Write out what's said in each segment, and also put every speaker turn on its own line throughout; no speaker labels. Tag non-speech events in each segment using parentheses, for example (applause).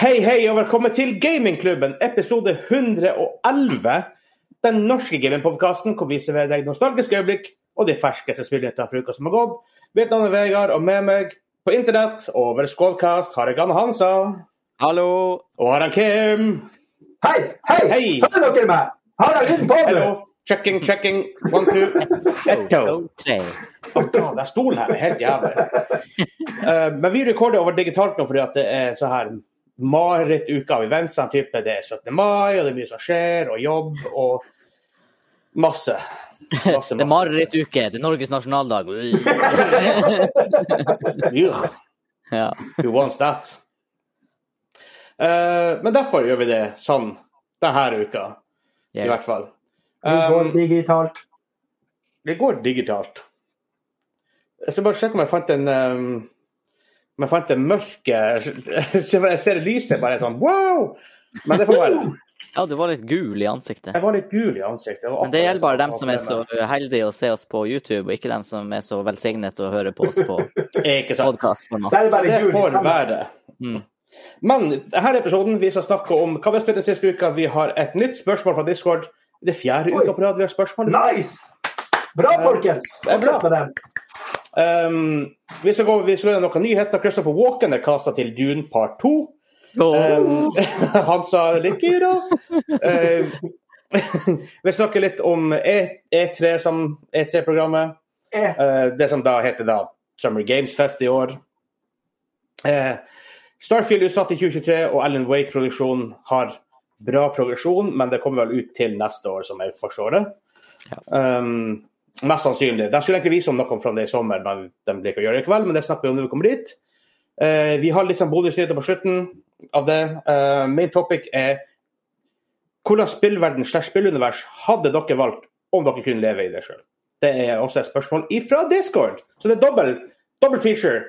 Hei, hei, og velkommen til Gamingklubben, episode 111. Den norske gamingpodkasten hvor vi serverer deg nostalgiske øyeblikk og de ferskeste spillnyhetene fra uka som har gått. Mitt navn er Vegard, og med meg på internett og over Skålkast har jeg Anne Hansa.
Hallo!
Og har han Kim.
Hei, hei!
Hei.
Hører dere meg? Har jeg lyden på? nå?
Hello. Checking, checking. One, two. Echo.
Okay.
Å, God, den stolen her er helt jævlig. Eh, men vi rekorder over digitalt nå fordi at det er så her marerittuke av events. sånn Type. Det er 17. mai, og det er mye som skjer, og jobb, og masse. masse, masse.
Det er marerittuke. Det er Norges nasjonaldag.
Ugh,
(laughs) ja.
Who wants that? Eh, men derfor gjør vi det sånn denne uka, i hvert fall.
Vi går
Um,
digitalt.
Det går digitalt. Jeg skal bare sjekke om jeg fant en um, om jeg fant en mørke (laughs) Så jeg ser lyset bare sånn wow! Men det får være.
ja, du var litt gul i ansiktet.
Jeg var litt gul i ansiktet.
Men det gjelder bare dem som er så heldige å se oss på YouTube, og ikke dem som er så velsignet å høre på oss på
Ikke sant.
Det (laughs)
podkastformat.
er
Så
bare
det
gul.
får være.
Mm.
Men denne episoden vi skal snakke om hva vi har spilt den siste uka. Vi har et nytt spørsmål fra Discord. Det er fjerde
Oi.
uka på rad vi har spørsmål.
Nice! Bra, folkens.
Det er bra.
Fortsett med den.
Um, vi skal gå vi skal gjøre noen nyheter. Christopher Walken er kasta til Dune part 2.
Og
Um, (laughs) han sa lykke da. Um, (laughs) vi snakker litt om E- E3 som- E3-programmet.
Eh,
eh, det som da heter da Summer Games Fest i år. Eh, Starfield er utsatt i 2023, og Alan Wake-produksjonen har bra progresjon, men det kommer vel ut til neste år, som jeg forstår det. Um, mest sannsynlig. De skulle egentlig vise om noe fra det i sommer, men de blir ikke å gjøre det i kveld. Men det snakker vi om når vi kommer dit. Eh, vi har litt sånn bonusnyheter på slutten av det. Eh, main topic er hvordan spillverden slash spillunivers hadde dere valgt om dere kunne leve i det sjøl? Det er også et spørsmål ifra Discord. Så det er dobbel, dobbel feature.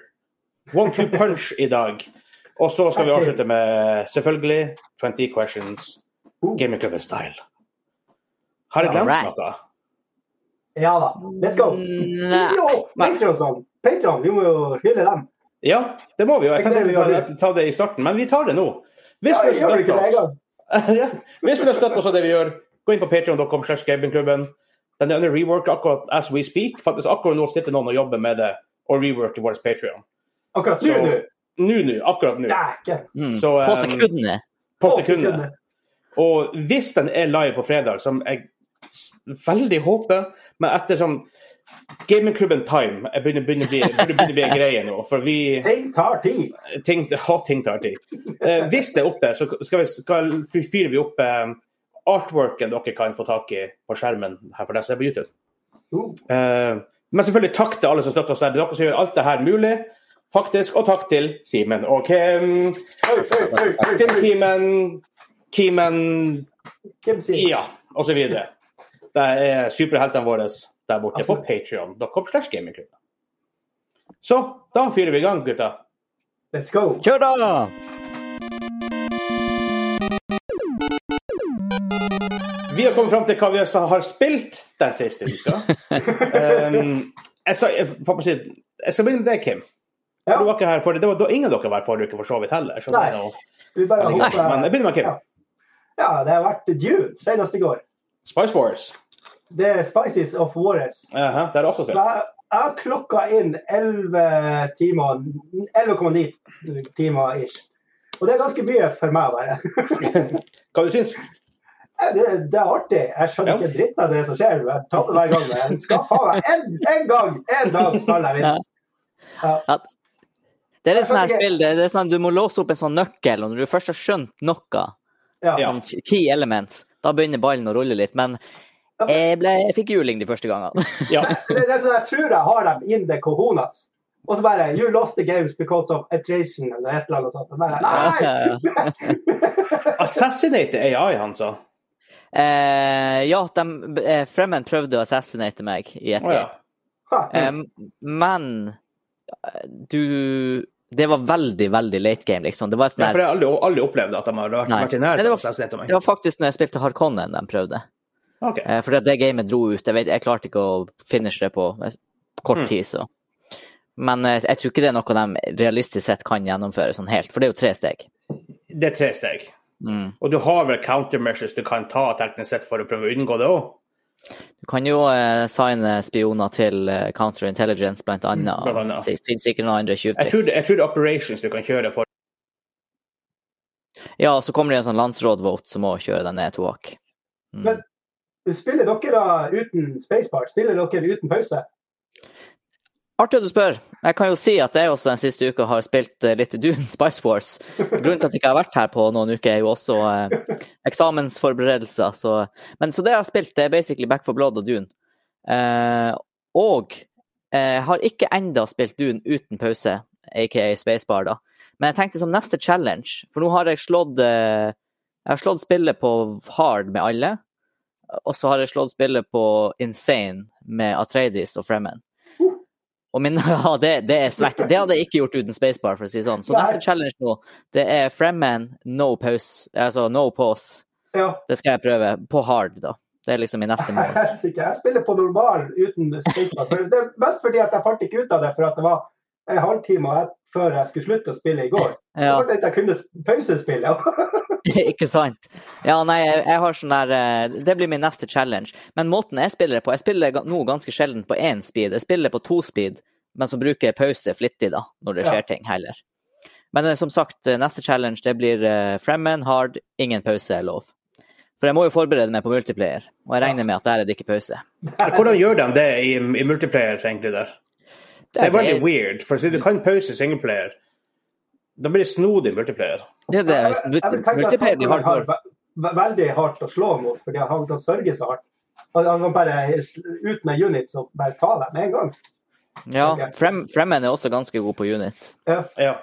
One two punch i dag. Og så skal vi avslutte med selvfølgelig 20 questions.
oh,
Gamingklubben style. Har jeg glemt
Alright.
noe?
ja da. Let's go.
Mm,
Nei.
Jo, Patreon sånn. Patreon, vi må jo hylle dem.
Ja, det må vi jo. Jeg tenkte
Det
vi
må vi
ville ta det i starten, men vi tar det nå. Hvis
Ja,
du
gjør du ikke det
støtter oss,
en gang?
(laughs) Ja. Hvis du vil støtte oss av det vi gjør, gå inn på patreon.com. slash gamingklubben. Den er under rework akkurat as we speak. Faktisk akkurat nå sitter noen og jobber med det og reworker vår Patreon.
Akkurat nå,
Så-
nå.
Nå, nå. Akkurat nå.
Dæken.
mm,
Så,
på
um,
sekundene.
På
Å,
sekundet. Og hvis den er live på fredag, som jeg s- veldig håper, men etter sånn Gamingklubben Time jeg begynner, begynner, å bli, begynner, begynner å bli
(laughs)
en greie nå. For vi
Ting tar tid.
ting, ja, ting tar tid. Eh, hvis det er oppe, så skal vi, skal, fyrer vi opp eh, artworken dere kan få tak i på skjermen her for deg som er på YouTube.
Jo.
Eh, men selvfølgelig takk til alle som støtter oss her. Det er dere som gjør alt det her mulig, faktisk. Og takk til Simen og Kim.
Oi, oi, oi, oi,
Kim
oi.
Kimen, Kimen
Kim sier
Ja, og så videre. Det er superheltene våre der borte på patreon.com slash gamingklubben. Så da fyrer vi i gang, gutter.
Let's go.
Kjør, da!
Vi har kommet fram til hva vi også har spilt den siste uka. Um, jeg, sa, jeg, pappa sier, jeg skal begynne med deg, Kim.
Ja.
Du var ikke her forrige, det var da ingen av dere var her forrige uke, for så vidt heller. Så
Nei.
det er noe-
Vi bare
Men
hopper.
jeg begynner med Kim.
Ja. Ja, det har vært Dune senest i går.
Spice Wars.
Det er Spices of Warres.
Aha, det er også
Så
spilt.
jeg, jeg har klokka inn 11 timer 11,9 timer ish. Og det er ganske mye for meg, bare. (laughs)
Hva du syns
Det, det er artig. Jeg skjønner
Ja.
ikke dritt av det som skjer. men Jeg tar det hver gang. men Jeg skal faen meg en, en gang, en dag skal jeg vinne. Ja.
Det er litt sånn her
Ok.
spill, det det er sånn, du må låse opp en sånn nøkkel, og når du først har skjønt noe,
Ja.
Ja.
sånn key elements, da begynner ballen å rulle litt. Men jeg, ble, jeg fikk juling de første gangene.
Ja.
Det, det er sånn jeg tror jeg har dem in the cojones. Og så bare You lost the games because of attrition eller et eller annet sånt. Og Bare,
(laughs)
Nei!
(laughs)
Assassinate AI, han sa.
Eh, ja, de, eh, Fremmen prøvde å assassinate meg i et
Å ja.
game. Em, men eh, du Det var veldig, veldig late game, liksom. Det var, sånn
ja for jeg har
her,
aldri, aldri opplevd at de har vært,
Nei.
vært i nærheten
Nei, det
av å
var-
assassinate meg.
det var faktisk når jeg spilte Harkonnen de prøvde.
Ok.
Eh, fordi at det gamet dro ut. Jeg, vet, jeg klarte ikke å finishe det på eh, kort
Mm.
tid, så. Men eh, jeg tror ikke det er noe de realistisk sett kan gjennomføre sånn helt, for det er jo tre steg.
det er tre steg.
Mm.
Og du har vel countermeasures du kan ta teknisk sett for å prøve å unngå det òg.
Du kan jo eh, signe spioner til eh, counterintelligence, blant annet.
Mm, Blant annet.
Det finnes sikkert noen andre
Jeg tror, det-
tjuvtriks.
jeg tror det er operations du kan kjøre
(laughs)
for
Ja, og så kommer det en sånn landsrådvote som må kjøre den ned to hakk. Mm.
Men- Spiller dere da uten spacebar? Spiller dere uten pause?
Artig at du spør. Jeg kan jo si at jeg også den siste uka har spilt eh, litt Dune Spice Wars. Grunnen til at jeg ikke har vært her på noen uker, er jo også eh, eksamensforberedelser. Så. Men så det jeg har spilt, det er basically Back for Blood og Dune. Eh, og eh, har ikke enda spilt Dune uten pause, aka Spacebar, da. Men jeg tenkte som neste challenge, for nå har jeg slått eh, Jeg har slått spillet på hard med alle. Og så har jeg slått spillet på insane med Atreides og Fremen. Og min, (laughs) ja, det, det er svett. Det hadde jeg ikke gjort uten Spacebar, for å si det sånn. Så
Nei.
neste challenge nå, det er Fremen, no pause. Altså no pause.
Ja.
Det skal jeg prøve. På hard, da. Det er liksom min neste
(laughs)
mål.
Helsike. Jeg spiller på normal uten spacebar. For Det er mest fordi at jeg fant ikke ut av det, for at det var en halvtime et- før jeg skulle slutte å spille i går.
Ja. (laughs)
Jeg, jeg kunne s- pausespille.
ikke sant? Ja, nei, jeg, jeg har sånn der eh, Det blir min neste challenge. Men måten jeg spiller det på Jeg spiller ga- nå ganske sjelden på én speed. Jeg spiller på to speed, men så bruker jeg pause flittig da, når det
Ja.
skjer ting, heller. Men eh, som sagt, eh, neste challenge det blir eh, Fremen, hard, ingen pause er lov. For jeg må jo forberede meg på multiplayer, og jeg regner med at der er det ikke pause.
Hvordan gjør de det i, i multiplayer, egentlig, der? Det er veldig weird, for så du kan pause singleplayer. Da blir det snodig multiplayer.
det, er det,
Jeg- jeg- jeg vil tenke at
multiplayer blir
Hagman har
hardcore.
ve- ve- veldig hardt å slå mot, fordi han kan sørge så hardt. Han han kan bare ut med units og bare ta dem med en gang.
Ja,
Ok.
Frem, Fremen er også ganske god på units.
Ja.
Ja.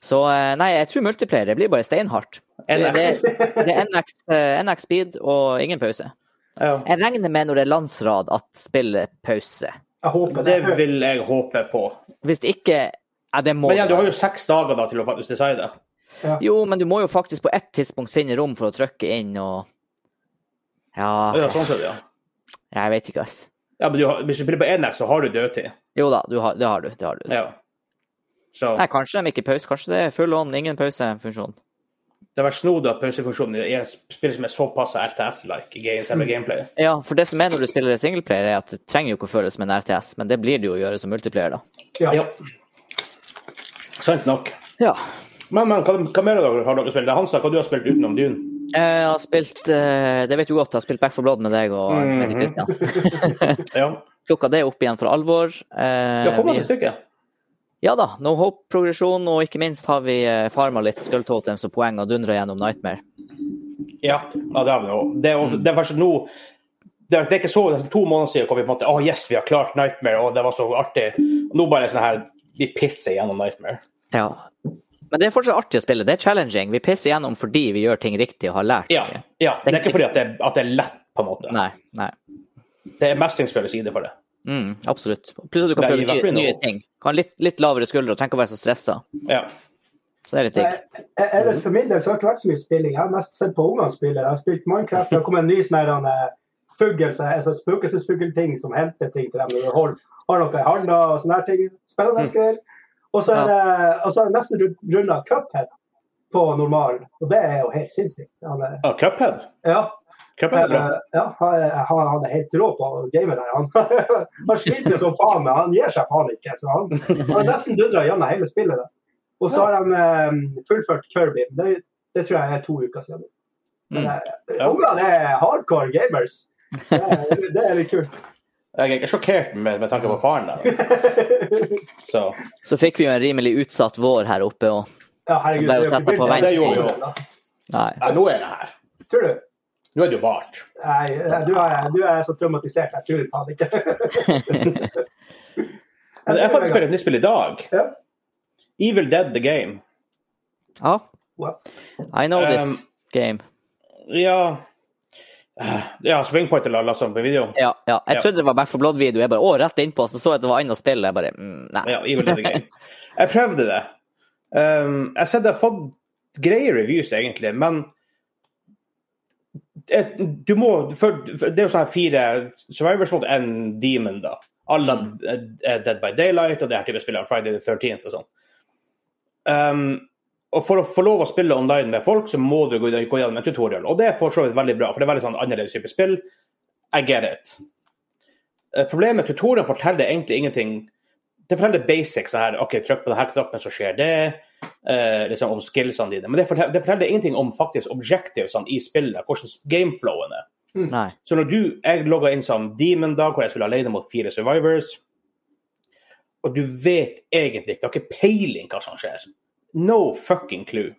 Så eh, nei, jeg tror multiplayer det blir bare steinhardt. Det,
NX.
det, det er NX, eh, NX speed og ingen pause.
Ja.
Jeg regner med når det er landsrad at spillet pause.
Jeg
Det
håper det.
vil jeg håpe på.
Hvis ikke ja, det må
Men ja, du har
være.
jo seks dager da til å faktisk decide.
Jo, men du må jo faktisk på ett tidspunkt finne rom for å trykke inn og
Ja,
Ja,
sånn ser det, ja.
jeg vet ikke, ass.
ja men du har, hvis du spiller på NX, så har du dødtid.
Jo da, du har, det har du. Det har du.
Ja. Så
Nei, kanskje de ikke pause. Kanskje det er full on, ingen pause-funksjon.
det har vært snodig at pausefunksjonen i et spill som er såpass RTS-like i game- selve gameplayet.
Ja, for det som er når du spiller singleplayer, er at det trenger jo ikke å føles som en RTS, men det blir det jo å gjøre som multiplayer, da.
Ja.
Ja. Sant nok.
Ja.
Men, men hva, hva mer har dere, har dere spilt? Hansa, hva du har spilt utenom Dune?
Jeg har spilt eh, Det vet du godt, jeg har spilt Back for Blood med deg og en som heter
Mhm.
Christian.
Ja.
plukka det opp igjen for alvor. Eh,
Ja, hvor mange
vi,
stykker?
ja da, No Hope-progresjon, og ikke minst har vi eh, farma litt Skull Totems og poeng og dundra gjennom Nightmare.
Ja, ja det har vi jo. Det er, det er faktisk nå det er, det er ikke så det er to måneder siden kom vi på en måte Å, yes, vi har klart Nightmare, og det var så artig. Nå bare sånn her Vi pisser gjennom Nightmare.
Ja. Men det er fortsatt artig å spille. Det er challenging. Vi pisser gjennom fordi vi gjør ting riktig og har lært.
Ja.
mye.
ja. Det er ikke fordi at det, at det er lett, på en måte.
Nei. nei.
Det er mestringsspillets side for det.
Mm, absolutt. Pluss at du
Det
kan
er
prøve nye,
Ivar Fryno.
nye ting. Kan ha litt, litt lavere skuldre og trenger ikke å være så stressa.
Ja.
Så det er litt digg.
Eh, eh, Ellers for min del så har det ikke vært så mye spilling. Jeg har mest sett på ungene spille. Jeg har spilt Minecraft. Det har kommet en ny sånn her, eh, fugl, så- altså spøkelsesfuglting som henter ting til dem når du hold- har noe i handa og sånne her ting. Spennende greier. Og så er det, og så er det nesten ru- runda cuphead på normal, og det er jo helt sinnssykt. Han er,
Ah, Cuphead.
ja,
Cuphead er bra.
eh, ja, han er- han, han er helt rå på gamet der. Han, (laughs) han sliter som faen, men han gir seg faen ikke. Så han, han har nesten dundra gjennom hele spillet. der. Og så har de eh, fullført Kirby. Det, det tror jeg er to uker siden. Men,
Mm.
eh,
Ja.
Ungene er hardcore gamers. Det er, det er litt kult. (laughs)
Jeg er ikke sjokkert med, med tanke på faren der. Så
Så fikk vi jo en rimelig utsatt vår her oppe òg.
Ja, herregud.
Det er jo
jo ikke
satt på
bygd-
vent.
det er jo-
Nei.
ja, nå er det her.
Tror du?
Nå er det jo bart.
Nei, du er, du er så traumatisert. Jeg tror faen ikke (laughs)
Men jeg faktisk spilte et nytt spill i dag.
Ja.
Evil Dead The Game.
Ja.
Wow.
I know this
Um,
game.
Ja Ja, Springpoint eller lasta den på video.
Ja, ja. Jeg
Ja.
trodde det var Back for Blood-video. Jeg bare å, rett innpå, så så jeg at det var annet spill. Jeg bare mm, nei.
Ja, Evil Dead The Game. Jeg prøvde det. Um, jeg har sett det har fått greie reviews, egentlig, men det- du må for, for Det er jo sånn her fire survivors mot en demon, da. Alle er Dead by Daylight og det her type spiller, Friday the 13th og sånn. Um, og For å få lov å spille online med folk, så må du gå gå gjennom en tutorial. Og det er for så vidt veldig bra, for det er veldig sånn annerledes type spill. I get it. Eh, Problemet med tutorial forteller egentlig ingenting. Det forteller basics. sånn Her, ok, Trykk på denne knappen, så skjer det. eh, liksom Om skillsene dine. Men det forteller, det forteller ingenting om faktisk objectivesene i spillet, hvordan gameflowen er.
Nei.
Så når du, jeg logga inn som demon da, hvor jeg skulle alene mot fire survivors, og du vet egentlig ikke, du har ikke peiling hva som skjer. No fucking clue.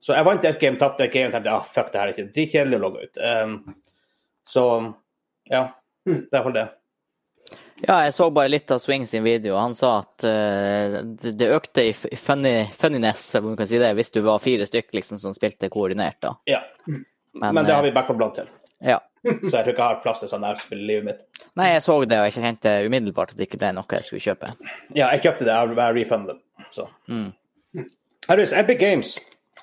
Så jeg vant ett game, tapte ett game, tenkte ah, fuck det her er ikke dritkjedelig å logge ut. Um, så ja, det er iallfall det.
Ja, jeg så bare litt av Swing sin video. Han sa at eh, det- det økte i f- funny, funniness, eller om du kan si det, hvis du var fire stykk liksom, som spilte koordinert. da.
Ja. Men, det har vi back for blant til,
Ja.
så jeg tror ikke jeg har plass til sånn nærspill i livet mitt.
Nei, jeg så det, og jeg kjente umiddelbart at det ikke ble noe jeg skulle kjøpe.
Ja, jeg kjøpte det, jeg, jeg refundet det. Så.
Mm.
Herregud, Epic Games.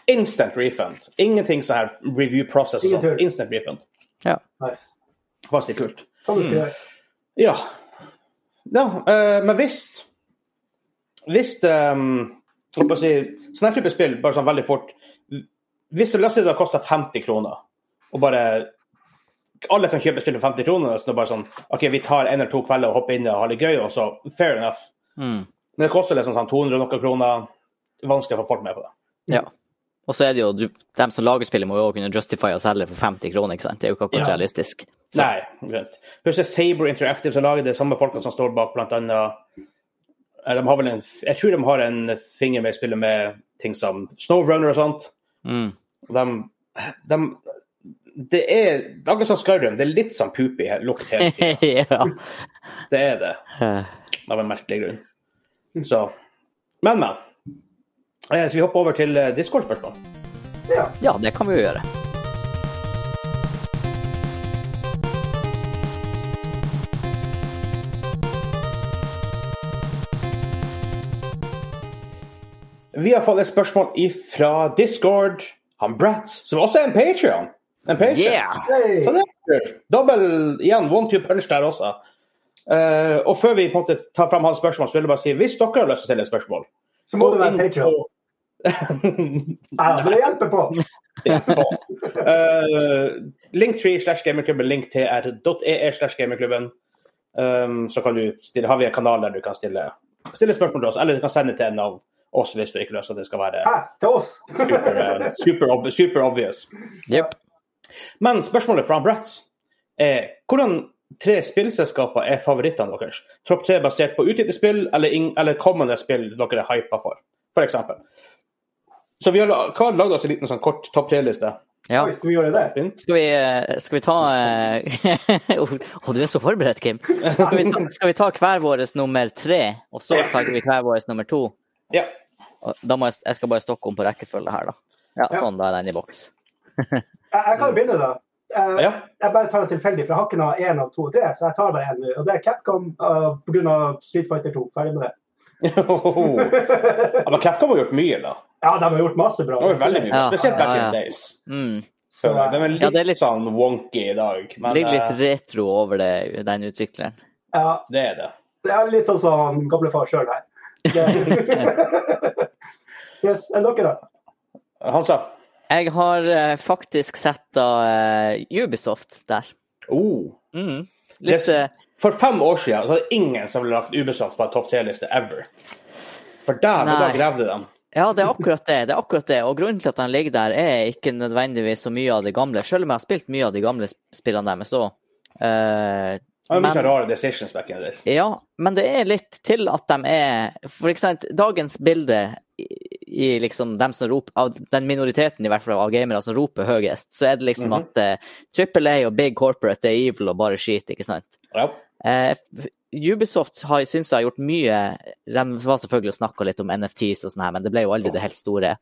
Instant refund. Ingenting sånn her review process og
Ingen
sånn.
tull.
Instant refund.
Ja.
Nice.
Faktisk kult.
Sånn det skal
Mm.
gjøres.
Ja. ja eh, men hvis Hvis um, å si, Sånn her type spill, bare sånn veldig fort Hvis det løser det koster 50 kroner, og bare alle kan kjøpe spill for 50 kroner nesten, og bare sånn OK, vi tar en eller to kvelder og hopper inn og har det gøy, og så fair enough.
Mm.
Men det koster liksom sånn 200 og noen kroner. Vanskelig å få folk med på det.
ja. Og så er det jo, du, dem som lager spillet, må jo også kunne justify å selge for 50 kroner, ikke sant? Det er jo ikke akkurat
Ja.
realistisk. (laughs) Så,
Nei. Greit. Husker Saber Interactive som lager det samme folkene som står bak blant annet eh, de har vel en, Jeg tror de har en finger med i spillet med ting som Snowrunner og sånt.
mm.
Og De, de, det er det er akkurat som Skyrim. Det er litt sånn poopy he- lukt hele
(laughs)
tiden.
ja.
Det er det,
Eh,
av en merkelig grunn. Så Men, men. Eh, Skal vi hoppe over til eh, Discord-spørsmål?
Ja.
ja, det kan vi jo gjøre.
Vi har fått et spørsmål ifra Discord. Han Bratz, som også er en Patreon. En Patreon.
Yeah!
Hey.
Så det Sånn er kult. Dobbel igjen, one two punch der også. Eh, og før vi på en måte tar fram hans spørsmål, så vil jeg bare si hvis dere har lyst til å stille et spørsmål
Så må det være
gå inn
Patreon.
(laughs) på-
Ja, men det hjelper på.
Ja, på. Eh, Linktree slash gamingklubben, linktr.ee slash gamingklubben. Um, så kan du stille, har vi en kanal der du kan stille, stille spørsmål til oss, eller du kan sende til en av oss hvis du ikke løser at det skal være
Hæ, til oss?
super, eh, super, ob super obvious.
Jepp.
Men spørsmålet fra Bratz er hvordan tre spillselskaper er favorittene deres? Topp tre basert på utgitte spill eller, ing- eller kommende spill dere er hypa for, f.eks. Så vi har la- Karl lagde oss en liten sånn kort topp tre-liste.
Ja.
(laughs) Oi, skal vi gjøre det?
(laughs)
Skal vi, eh, skal vi ta eh, (laughs) Å, du er så forberedt, Kim. Skal vi ta, skal vi ta hver vår nummer tre, og så tar vi hver vår nummer to?
Ja.
Og Da må jeg, jeg skal bare stokke om på rekkefølge her, da. Ja,
Ja.
sånn, da er den i boks.
Jeg, jeg kan jo begynne, da. Eh,
ja.
Jeg bare tar det tilfeldig, for jeg har ikke noe én av to og tre. Så jeg tar det en nå. Og det er Capcom uh, pga. Street Fighter 2. Ferdig med det. (laughs)
ja, men Capcom har gjort mye, da.
Ja, de har gjort masse bra.
De har gjort veldig mye,
Ja.
Spesielt back in
Ja, ja.
the days.
Mm.
Så
Så,
De er litt,
Ja, det er litt-
sånn wonky i dag, men
Ligger
eh,
litt retro over det, den utvikleren.
ja,
det er det.
det er litt sånn som gamlefar sjøl her. Det- (laughs) yes, enn dere, da?
Han sa
Jeg har eh, faktisk sett da eh, Ubisoft der.
oh.
Mm. Litt,
Det er-
eh,
For fem år siden så var det ingen som ville lagt Ubisoft på en topp tre-liste ever. For der, for da
Nei.
gravde de.
Ja, det er akkurat det. det er akkurat det. Og grunnen til at den ligger der, er ikke nødvendigvis så mye av det gamle. Selv om jeg har spilt mye av de gamle sp- spillene deres òg.
Det var mye sånn
men,
rare decisions back in the days.
ja, men det er litt til at de er For eksempel dagens bilde i, i liksom dem som roper av Den minoriteten i hvert fall av gamere som roper høyest, så er det liksom
Mhm.
at Triple A og Big Corporate det er evil og bare skit, ikke sant?
Ja.
Eh, f- Ubisoft har, synes jeg har gjort mye De var selvfølgelig og snakka litt om NFTs og sånn, her, men det ble jo aldri det helt store.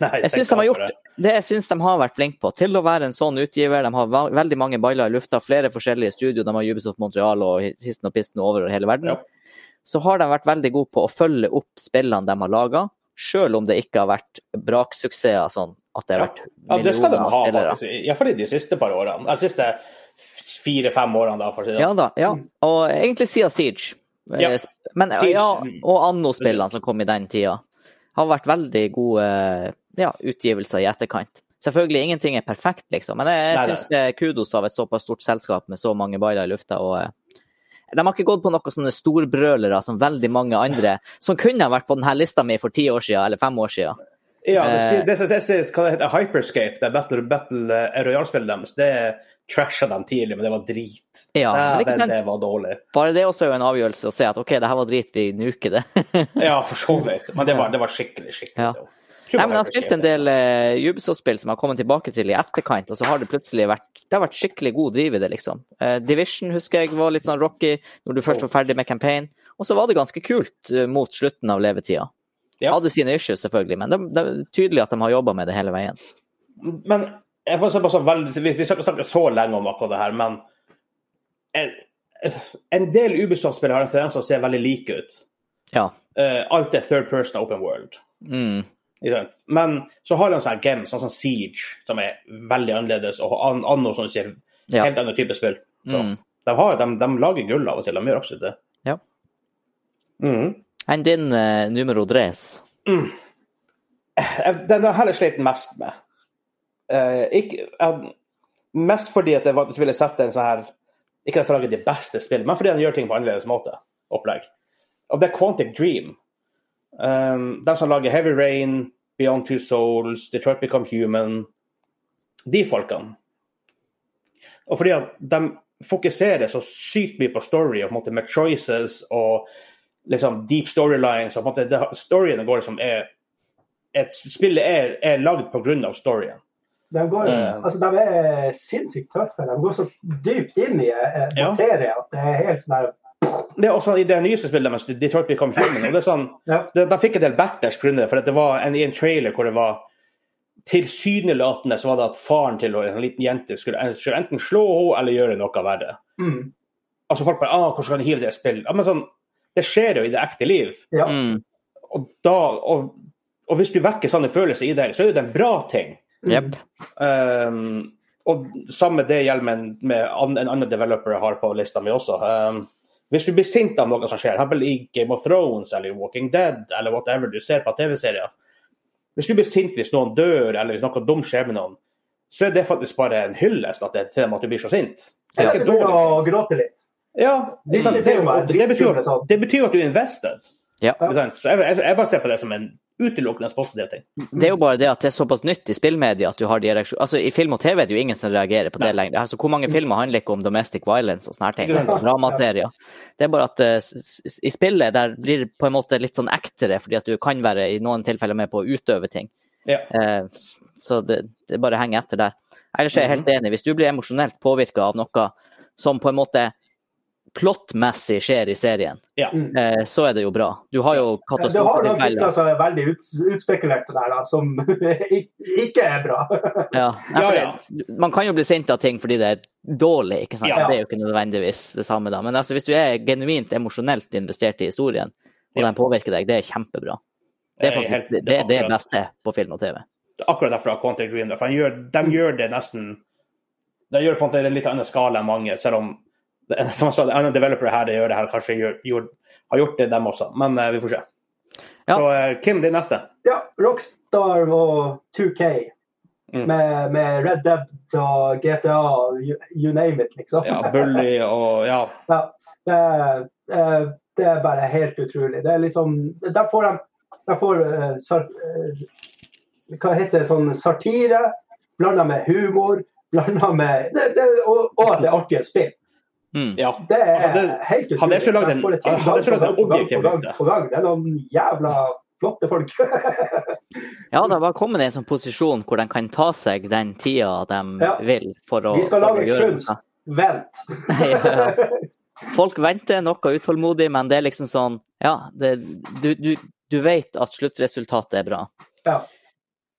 Nei,
Jeg syns de har gjort det jeg synes de har vært flinke på. Til å være en sånn utgiver. De har va- veldig mange baller i lufta, flere forskjellige studio. De har Ubisoft Montreal og histen og pisten over hele verden.
Ja.
Så har de vært veldig gode på å følge opp spillene de har laga, sjøl om det ikke har vært braksuksesser sånn at det
Ja.
har vært
Ja, det skal de
millioner av
ha,
spillere.
faktisk. Iallfall de siste par årene. De siste fire-fem årene, da, for å si det
Ja da, ja. Og egentlig siden Siege.
Mm. Ja.
Eh, Men,
Siege.
Ja, og Anno-spillene som kom i den tida. har vært veldig gode ja, utgivelser i etterkant. Selvfølgelig, ingenting er perfekt, liksom, men jeg,
Nei, nei.
jeg syns det er kudos av et såpass stort selskap med så mange baller i lufta. og eh, de har ikke gått på noen sånne storbrølere som veldig mange andre, som kunne ha vært på denne lista mi for ti år siden eller fem år siden.
Ja, det,
Eh.
sy- det som jeg synes, hva det heter Hyperscape, det er Battle, Battle eh, Royale-spillet deres, det trasha dem tidlig, men det var drit.
Ja, men
det,
ikke
det,
sant?
var dårlig.
Bare det også er jo en avgjørelse å se at OK, det her var drit, vi nuker det.
Ja, for så vidt. Men det var, det var skikkelig, skikkelig
Ja.
dårlig.
Nei, men Jeg har spilt en del uh, Ubisoft-spill som jeg har kommet tilbake til i etterkant, og så har det plutselig vært det har vært skikkelig god driv i det, liksom. Eh, Division husker jeg var litt sånn rocky når du først
Oh.
var ferdig med campaign, og så var det ganske kult eh, mot slutten av levetida.
Ja.
Hadde sine issues, selvfølgelig, men det, det er tydelig at de har jobba med det hele veien.
Men jeg får bare så veldig, vi, vi skal ikke snakke så lenge om akkurat det her, men en, en del Ubisoft-spillere har en tendens til å se veldig like ut.
Ja.
Eh, alt er third person open world.
Mm.
Ikke sant? Men så har de en sånn game, sånn som Siege, som er veldig annerledes, og an, anno, som du sier,
Ja.
helt annen type spill. Så
Mm.
de, har, de, de lager gull av og til, de gjør absolutt det.
Ja.
Mhm.
Enn din eh, numero tres?
Jeg- Den har jeg slitt mest med. Eh, ikke, jeg, mest fordi at jeg vanligvis ville sett en sånn her Ikke at jeg lager de beste spill, men fordi han gjør ting på annerledes måte. Opplegg. Og det er Quantic Dream. Um, de som lager Heavy Rain, Beyond Two Souls, Detroit Become Human De folkene. Og fordi at de fokuserer så sykt mye på story og på en måte med choices og liksom deep storylines og på en måte det, Storyen går liksom er et, Spillet er, er lagd pga. storyen.
De, går,
Mm.
altså, de er sinnssykt tøffe. De går så dypt inn i eh,
Ja.
materien at det er helt sånn her
Det er også sånn, i det nyeste spillet deres, Detroit Become Human. og det er sånn,
ja.
de, de fikk en del backlash pga. det, for at det var en, i en trailer hvor det var tilsynelatende så var det at faren til en liten jente skulle, skulle enten slå henne eller gjøre noe verre.
Mm.
Altså folk bare ah, 'Hvordan kan du hive det i spill?' Ja, men sånn, det skjer jo i det ekte liv.
ja.
Mm.
Og, da, og, og hvis du vekker sånne følelser i deg, så er jo det en bra ting.
Jepp.
Um, og samme det gjelder med, en- med an, en annen developer jeg har på lista mi også. Um, hvis du blir sint av noe som skjer, f.eks. i Game of Thrones eller i Walking Dead eller whatever du ser på TV-serier Hvis du blir sint hvis noen dør eller hvis noe dumt skjer med noen, så er det faktisk bare en hyllest at det, til dem at du blir så sint. Det er
Eller
ikke
de begynner
dårlig.
å gråte litt.
Ja,
De
sant, det,
filmer er
det, det, betyr,
dritskumle, sånn.
det betyr at du er invested.
Ja.
Ikke sant? Så jeg, jeg, jeg bare ser på det som en utelukkende positiv ting.
Det er
Mm.
jo bare det at det er såpass nytt i spillmedia at du har de reaksjonene Altså, I film og TV er det jo ingen som reagerer på det lenger. Altså, Hvor
Mm.
mange filmer handler ikke om domestic violence og sånne her ting?
Ja.
og Dramaserier. Det er bare at eh, s- s- i spillet der blir det på en måte litt sånn ektere, fordi at du kan være i noen tilfeller med på å utøve ting.
Ja.
Eh, Så det, det bare henger etter der. Ellers er jeg
Mm.
helt enig. Hvis du blir emosjonelt påvirka av noe som på en måte plottmessig skjer i serien,
Ja.
eh, så er det jo bra. Du har jo
Ja, Du har noen
katastrofer
gutter som er veldig ut, utspekulerte der, da, som (laughs) ik- ikke er bra. (laughs)
Ja, nei,
Ja,
for
ja.
Det, man kan jo bli sint av ting fordi det er dårlig, ikke sant?
Ja.
det er jo ikke nødvendigvis det samme da. Men altså, hvis du er genuint emosjonelt investert i historien, og
Ja.
den påvirker deg, det er kjempebra. Det
Jeg
er
er
faktisk
helt-
det, det, er det
akkurat.
beste på film og TV.
akkurat derfor har Quantic Dream det. For han gjør, de gjør det nesten De gjør det på en måte i en litt annen skala enn mange, selv om (laughs) som jeg sa, en annen developer her gjør det her, kanskje gjør, gjør, har gjort det, dem også. Men eh, vi får se.
Ja.
Så eh, Kim, din neste.
Ja, Rockstar og 2K
Mm.
med, med Red Debt og GTA, you, you name it, liksom. (laughs)
Ja, Bully og Ja.
Ja, det, eh, det er bare helt utrolig. Det er liksom Der får de der får, eh, sar, eh, Hva heter det? Sånn satire blanda med humor. Blanda med det, det, og, og at det er artige spill.
Mm.
ja.
Det er
Altså, det-
helt utrolig.
hadde jeg skulle lagd en-
De får det til
hadde jeg
gang
skulle
på
lagd en
gang på gang
objektiv
på gang
liste.
på gang. Det er noen jævla flotte folk. (laughs)
Ja, det var kommet i en sånn posisjon hvor de kan ta seg den tida de
Ja.
vil for å
Vi skal
for å
lage
gjøre
kunst.
noe.
Vent.
ja, ja. Folk venter noe utålmodig, men det er liksom sånn Ja, det, du, du, du vet at sluttresultatet er bra.
(laughs) Ja.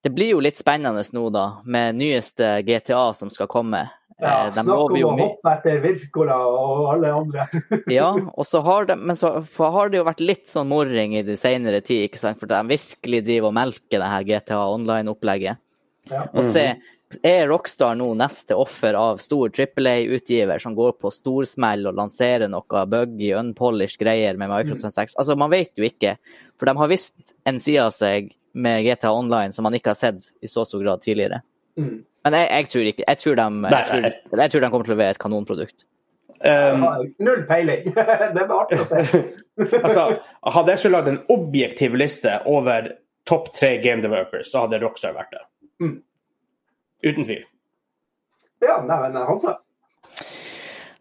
Det blir jo litt spennende nå, da, med nyeste GTA som skal komme.
Ja,
Eh, de
snakk
lover
om
jo
å
mye.
hoppe etter Wirkola og alle andre.
(laughs)
(laughs)
Ja, og så har de, men så for har det jo vært litt sånn morring i den senere tid, ikke sant? for de virkelig driver og melker det her GTA Online-opplegget.
Ja.
Og se, er Rockstar nå neste offer av stor Triple A-utgiver som går på storsmell og lanserer noe buggy, unpolished greier med
Mhm.
microtransaction? Altså, man vet jo ikke. For de har visst en side av seg med GTA Online som man ikke har sett i så stor grad tidligere.
Mm.
Men jeg, jeg tror ikke. Jeg tror, de, jeg, tror, jeg tror de kommer til å levere et kanonprodukt.
Jeg
Um,
har Null peiling. (laughs) det blir artig å se.
altså, hadde jeg skulle lagd en objektiv liste over topp tre game developers, så hadde Rockstar vært det.
Mm.
Uten tvil.
Ja, nei, men Hansa.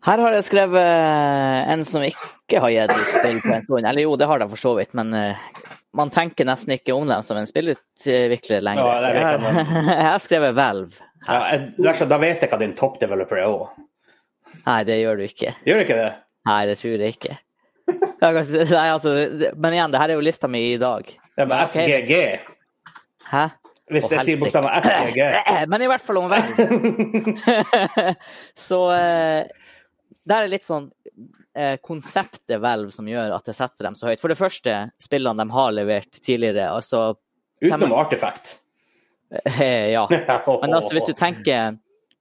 Her har jeg skrevet eh, en som ikke har gitt ut spill på en stund. Eller jo, det har de for så vidt, men eh, man tenker nesten ikke om dem som en spillutvikler lenger.
Ja, det vet jeg
(laughs) jeg, har skrevet Valve.
Ja, jeg, det er så- da vet jeg hva din topp developer er òg.
Nei, det gjør du ikke.
Gjør det ikke det?
Nei, det tror jeg
(laughs)
ikke. Ja, kanskje- Nei, altså, det- men igjen, det her er jo lista mi i dag.
Ja, men
Ok.
SGG.
Hæ?
Hvis
Å,
jeg sier
helsike.
bokstaven SGG.
Eh, Men i hvert fall om Valve. (laughs) så eh, der er litt sånn eh, konseptet Valve som gjør at jeg setter dem så høyt. For det første, spillene de har levert tidligere, altså
Utenom Artifact.
eh, Ja. Men altså, hvis du tenker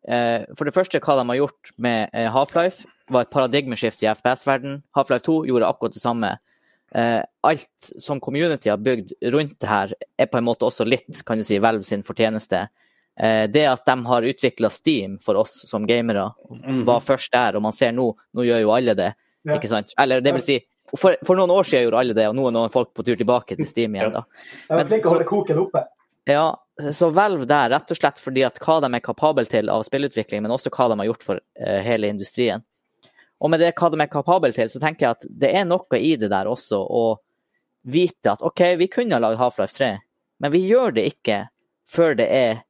eh, For det første, hva de har gjort med eh, Half-Life, var et paradigmeskifte i FPS-verden. Half-Life 2 gjorde akkurat det samme. Eh, alt som community har bygd rundt det her, er på en måte også litt kan du si, Valve sin fortjeneste. Eh, det at de har utvikla Steam for oss som gamere,
Mhm.
var først der, og man ser nå, nå gjør jo alle det.
Ja.
ikke sant? Eller det vil si, for, for noen år siden gjorde alle det, og nå er noen folk på tur tilbake til Steam igjen. da. Men
Jeg var flink til
så-
å holde koken oppe.
Ja, så velv der, rett og slett fordi at hva de er kapabel til av spillutvikling, men også hva de har gjort for eh, hele industrien. Og med det hva de er kapabel til, så tenker jeg at det er noe i det der også å vite at OK, vi kunne ha lagd Half-Life 3, men vi gjør det ikke før det er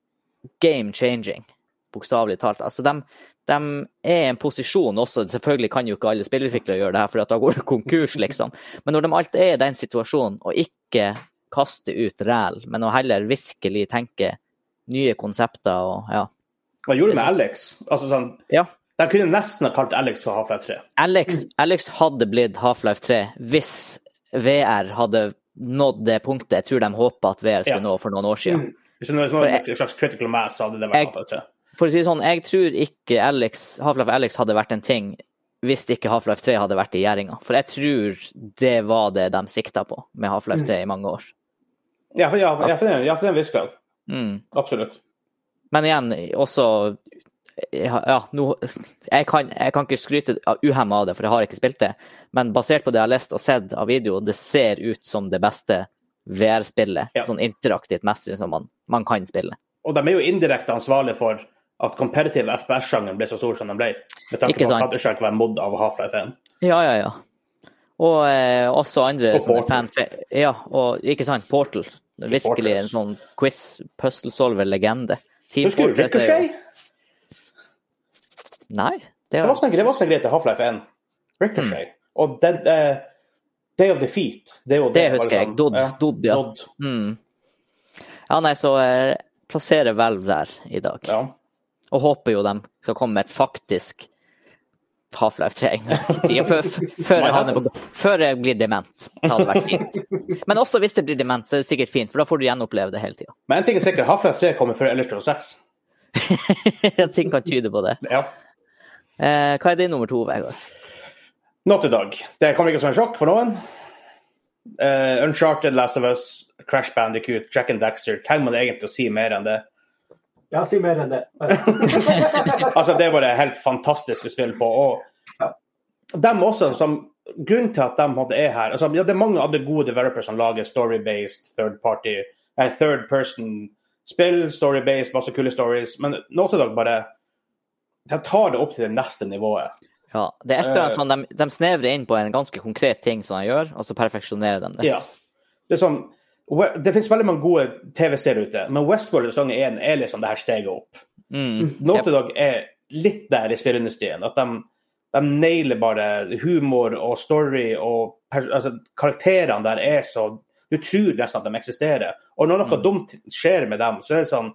game changing, bokstavelig talt. Altså, de, de er i en posisjon også. Selvfølgelig kan jo ikke alle spillutviklere gjøre det her, for da går det konkurs, liksom. Men når de alt er i den situasjonen, og ikke kaste ut ræl, men å heller virkelig tenke nye konsepter og ja.
Hva gjorde du med Alex? Altså, sånn,
ja.
de kunne nesten ha kalt Alex for Half-Life 3.
Alex, Alex hadde blitt Half-Life 3 hvis VR hadde nådd det punktet jeg tror de håpa at VR skulle
Ja.
nå for noen år siden.
Hvis det var en slags critical mass, så hadde det vært
Jeg-
Half-Life 3.
For å si det sånn, jeg tror ikke Alex, Half-Life Alex hadde vært en ting hvis ikke Half-Life 3 hadde vært i gjæringa. For jeg tror det var det de sikta på med Half-Life 3 i mange år.
Ja, for, ja, ja, for, det- ja, for det er en viss grad.
Mm.
Absolutt.
Men igjen, også Ja, ja, nå jeg kan, jeg kan ikke skryte uhemma av det, for jeg har ikke spilt det. Men basert på det jeg har lest og sett av video, det ser ut som det beste VR-spillet.
Ja.
Sånn interaktivt messig som man, man kan spille.
Og de er jo indirekte ansvarlige for at competitive FPS-sjangeren ble så stor som den ble. Med tanke
Ikke
på at
sant.
Counter-Strike var en mod av Half-Life 1.
Ja, ja, ja. Og eh, også andre
Og
sånne
Portal.
fanfe- Ja, og ikke sant, Portal. Virkelig en
Fortress.
sånn quiz-puzzle-solver-legende. Team
Husker du
Fortress er jo-
Ricochet?
Nei. Det
Det
er
var også en, det var også en greie til Half-Life 1. Ricochet. Og Dead, eh, Day of Defeat. Det, er jo
Hmm. Det husker
bare
jeg.
sånn,
Dodd, Dodd, ja.
Dodd, sånn.
Mm. Ja, nei, så eh, plasserer Valve der i dag.
ja.
Og håper jo de skal komme med et faktisk Half-Life 3 en gang i tiden, før, f- før, jeg havner på- før jeg blir dement. Det hadde vært fint. Men også hvis det blir dement, så er det sikkert fint, for da får du gjenoppleve det hele tida.
Men en ting er sikkert, Half-Life 3 kommer før Ellers 6.
(laughs) Ting kan tyde på det.
Ja.
Eh, hva er din nummer to, Vegard?
Not i dag. Det kommer ikke som en sjokk for noen. Eh, Uncharted, Last of Us, Crash Bandicoot, Jack and Daxter. Trenger man egentlig å si mer enn det?
Ja, si mer enn det.
Altså, det er bare helt fantastiske spill på. Og dem også, som Grunnen til at de hadde er her altså, ja, Det er mange andre gode developers som lager story-based third party, eh, third person-spill, story-based, masse kule stories, men Naughty Dog bare De tar det opp til det neste nivået.
Ja, det er et eller annet
Eh.
sånn, de, de snevrer inn på en ganske konkret ting som de gjør, og så perfeksjonerer de det.
Ja. Det er sånn we- Det finnes veldig mange gode TV-serier ute, men Westworld sesong 1 er liksom det her steget opp.
Mm.
Naughty Dog er litt der i spillindustrien. At de, de nailer bare humor og story og pers- altså, Karakterene der er så Du tror nesten at de eksisterer. Og når
Mm.
noe dumt skjer med dem, så er det sånn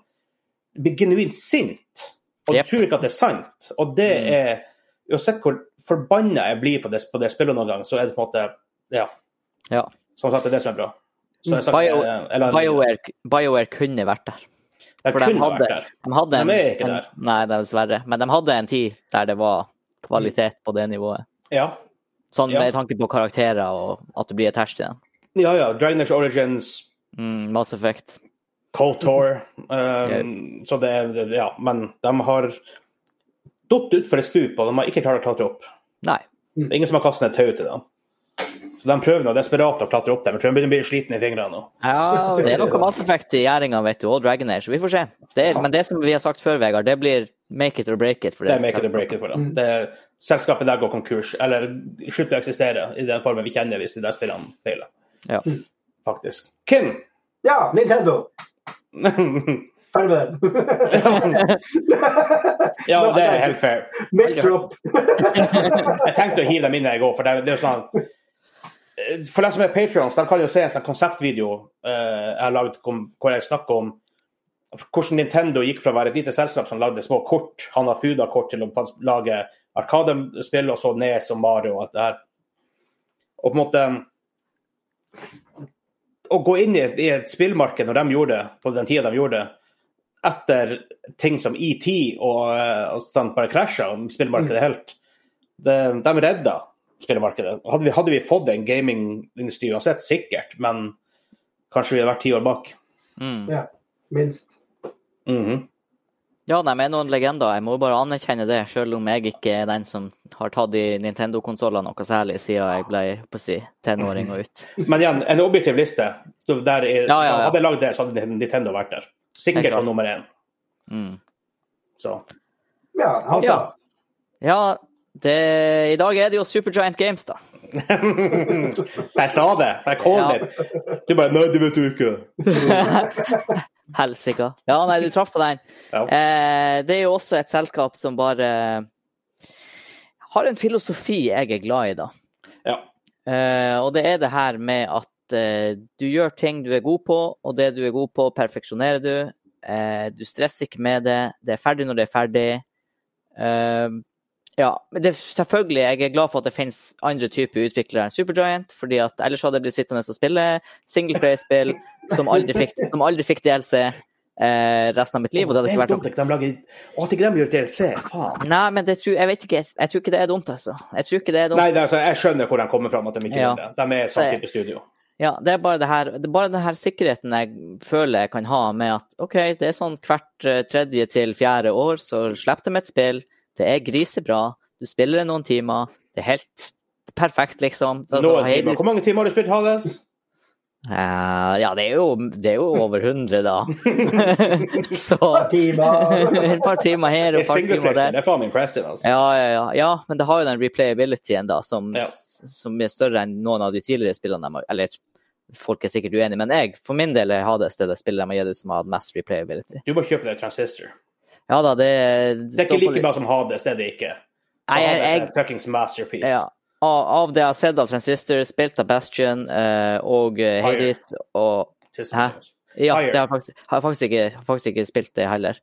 Du blir genuint sint. Og du
Yep.
tror ikke at det er sant. Og det
Mm.
er Uansett hvor forbanna jeg blir på det, på det spillet noen gang, så er det på en måte Ja. Sånn
Ja. Mm.
Som sagt, det er det som er bra. Så jeg
Bio-
snakker, eller,
BioWare, BioWare kunne vært der.
De
For de
kunne
hadde-
vært der.
De hadde en,
De er ikke
en,
der.
nei, dessverre. Men de hadde en tid der det var kvalitet på det nivået.
Ja.
Sånn
Ja.
med tanke på karakterer og at du blir et herst igjen.
ja, ja. Dragon Age Origins,
Mm, Mass Effect.
(laughs) Kotor um, Så det er Ja, men de har datt utfor et stup, og de har ikke klart å klatre opp.
Nei.
Det er ingen som har kastet et tau til dem. Så de prøver nå desperat å klatre opp der, men tror de begynner å bli slitne i fingrene nå.
Ja, det er noe Mass Effect i gjæringa, vet du, og Dragon Age. Vi får se. Det er, men det som vi har sagt før, Vegard, det blir make it or break it. For
Det er Mm. make it or break it for dem. Det er, selskapet der går konkurs, eller slutter å eksistere i den formen vi kjenner hvis de der spillene feiler,
Ja.
faktisk. Kim! (laughs)
Ja, Nintendo! Farvel!
ja, det er helt fair.
(laughs) Mic drop.
Jeg tenkte å hive dem inn her i går, for det, er- det er jo sånn eh, For dem som er patrons, de kan jo se en sånn konseptvideo eh, jeg har lagd om- hvor jeg snakker om hvordan Nintendo gikk fra å være et lite selskap som lagde små kort, han har Fuda-kort, til å pas- lage Arkadespill, og så Nes og Mario og alt det her. Og på en måte um, Å gå inn i et, i et spillmarked når de gjorde det, på den tida de gjorde det, etter ting som ET og, eh, og sånn bare krasja om spillmarkedet helt det, De redda spillmarkedet. Hadde vi, hadde vi fått en gamingindustri uansett, sikkert, men kanskje vi hadde vært ti år bak.
Mm.
Ja, minst.
Mhm.
Ja, de er noen legender. Jeg må jo bare anerkjenne det, selv om jeg ikke er den som har tatt de Nintendo-konsollene noe særlig siden jeg ble på å si, tenåring og ut.
Men igjen, en objektiv liste. så Der er,
Ja, ja, ja.
Hadde jeg lagd det, så hadde Nintendo vært der.
Helt
Sikkert
klart.
på nummer én.
Mm.
Så. (laughs)
Ja, altså.
Ja. Ja, det, i dag er det jo Supergiant
(laughs)
Games, da.
Jeg sa det! Jeg called
Ja.
it! Du bare Nei, det vet du ikke.
Helsika. Ja, nei, du traff på den.
Ja.
Eh, det er jo også et selskap som bare har en filosofi jeg er glad i, da.
Ja.
Eh, og det er det her med at eh, du gjør ting du er god på, og det du er god på, perfeksjonerer du. Eh, du stresser ikke med det. Det er ferdig når det er ferdig. Eh, ja, men det, selvfølgelig jeg er glad for at det finnes andre typer utviklere enn Supergiant, fordi at ellers hadde jeg blitt sittende og spille singleplay-spill som aldri fikk, som aldri fikk DLC eh, resten av mitt liv. Og det hadde
er
ikke vært noe
dumt at de lager Å, at ikke de gjør DLC, faen!
Nei, men det tror, jeg vet ikke. Jeg tror ikke det er dumt, altså. Jeg tror ikke det er dumt.
Nei, det er altså, jeg skjønner hvor de kommer fram, at de ikke
Ja.
gjør det. De er samme type studio.
Ja, det er bare det her, det er bare den her sikkerheten jeg føler jeg kan ha med at OK, det er sånn hvert eh, tredje til fjerde år, så slipper de et spill. Det er grisebra. Du spiller det noen timer. Det er helt perfekt, liksom. Altså,
Noen timer.
Hades-
Hvor mange timer har du spilt Hades?
Eh, ja, det er, jo, det er jo over 100,
(laughs)
da. (laughs) så (laughs)
timer.
Et par timer her
Det
og et
er
par
single
timer der.
player, det er faen impressive, altså.
Ja, ja, ja. ja, men det har jo den replayabilityen da, som,
Ja.
som er større enn noen av de tidligere spillene. de har- Eller folk er sikkert uenige, men jeg for min del er Hades det, det spillet de har gitt ut som har hatt mest replayability.
Du må kjøpe deg Transistor.
Ja da, det
Det er ikke like bra som Hades, det er det ikke.
Nei, jeg,
Hades er
jeg,
en fuckings masterpiece.
ja. Av, av det jeg har sett av Transistor, spilt av Bastion eh, og eh,
Fire.
Hades og
Siste
Hæ?
minus.
Ja,
Higher.
det har jeg faktisk, har jeg faktisk, ikke, har faktisk ikke spilt det heller.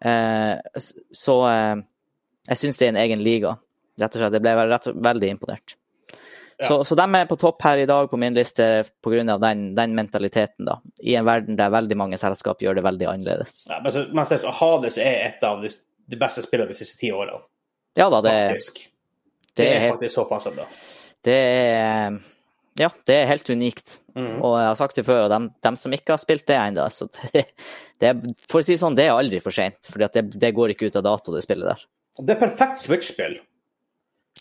Eh, s- så eh, jeg syns det er en egen liga, rett og slett. Jeg ble vel- rett, veldig imponert.
Ja.
Så, så de er på topp her i dag på min liste pga. Den, den mentaliteten, da. I en verden der veldig mange selskap gjør det veldig annerledes.
Ja, men så, men så, Hades er et av de, de beste spillene de siste ti årene,
Ja da, det,
faktisk.
det, er, helt-
faktisk såpass bra.
det er Ja, det er helt unikt.
Mhm.
Og jeg har sagt det før, og dem, dem som ikke har spilt det ennå, så (laughs) det, det er, For å si sånn, det er aldri for seint. For det, det går ikke ut av dato, det spillet der.
Det er perfekt Switch-spill.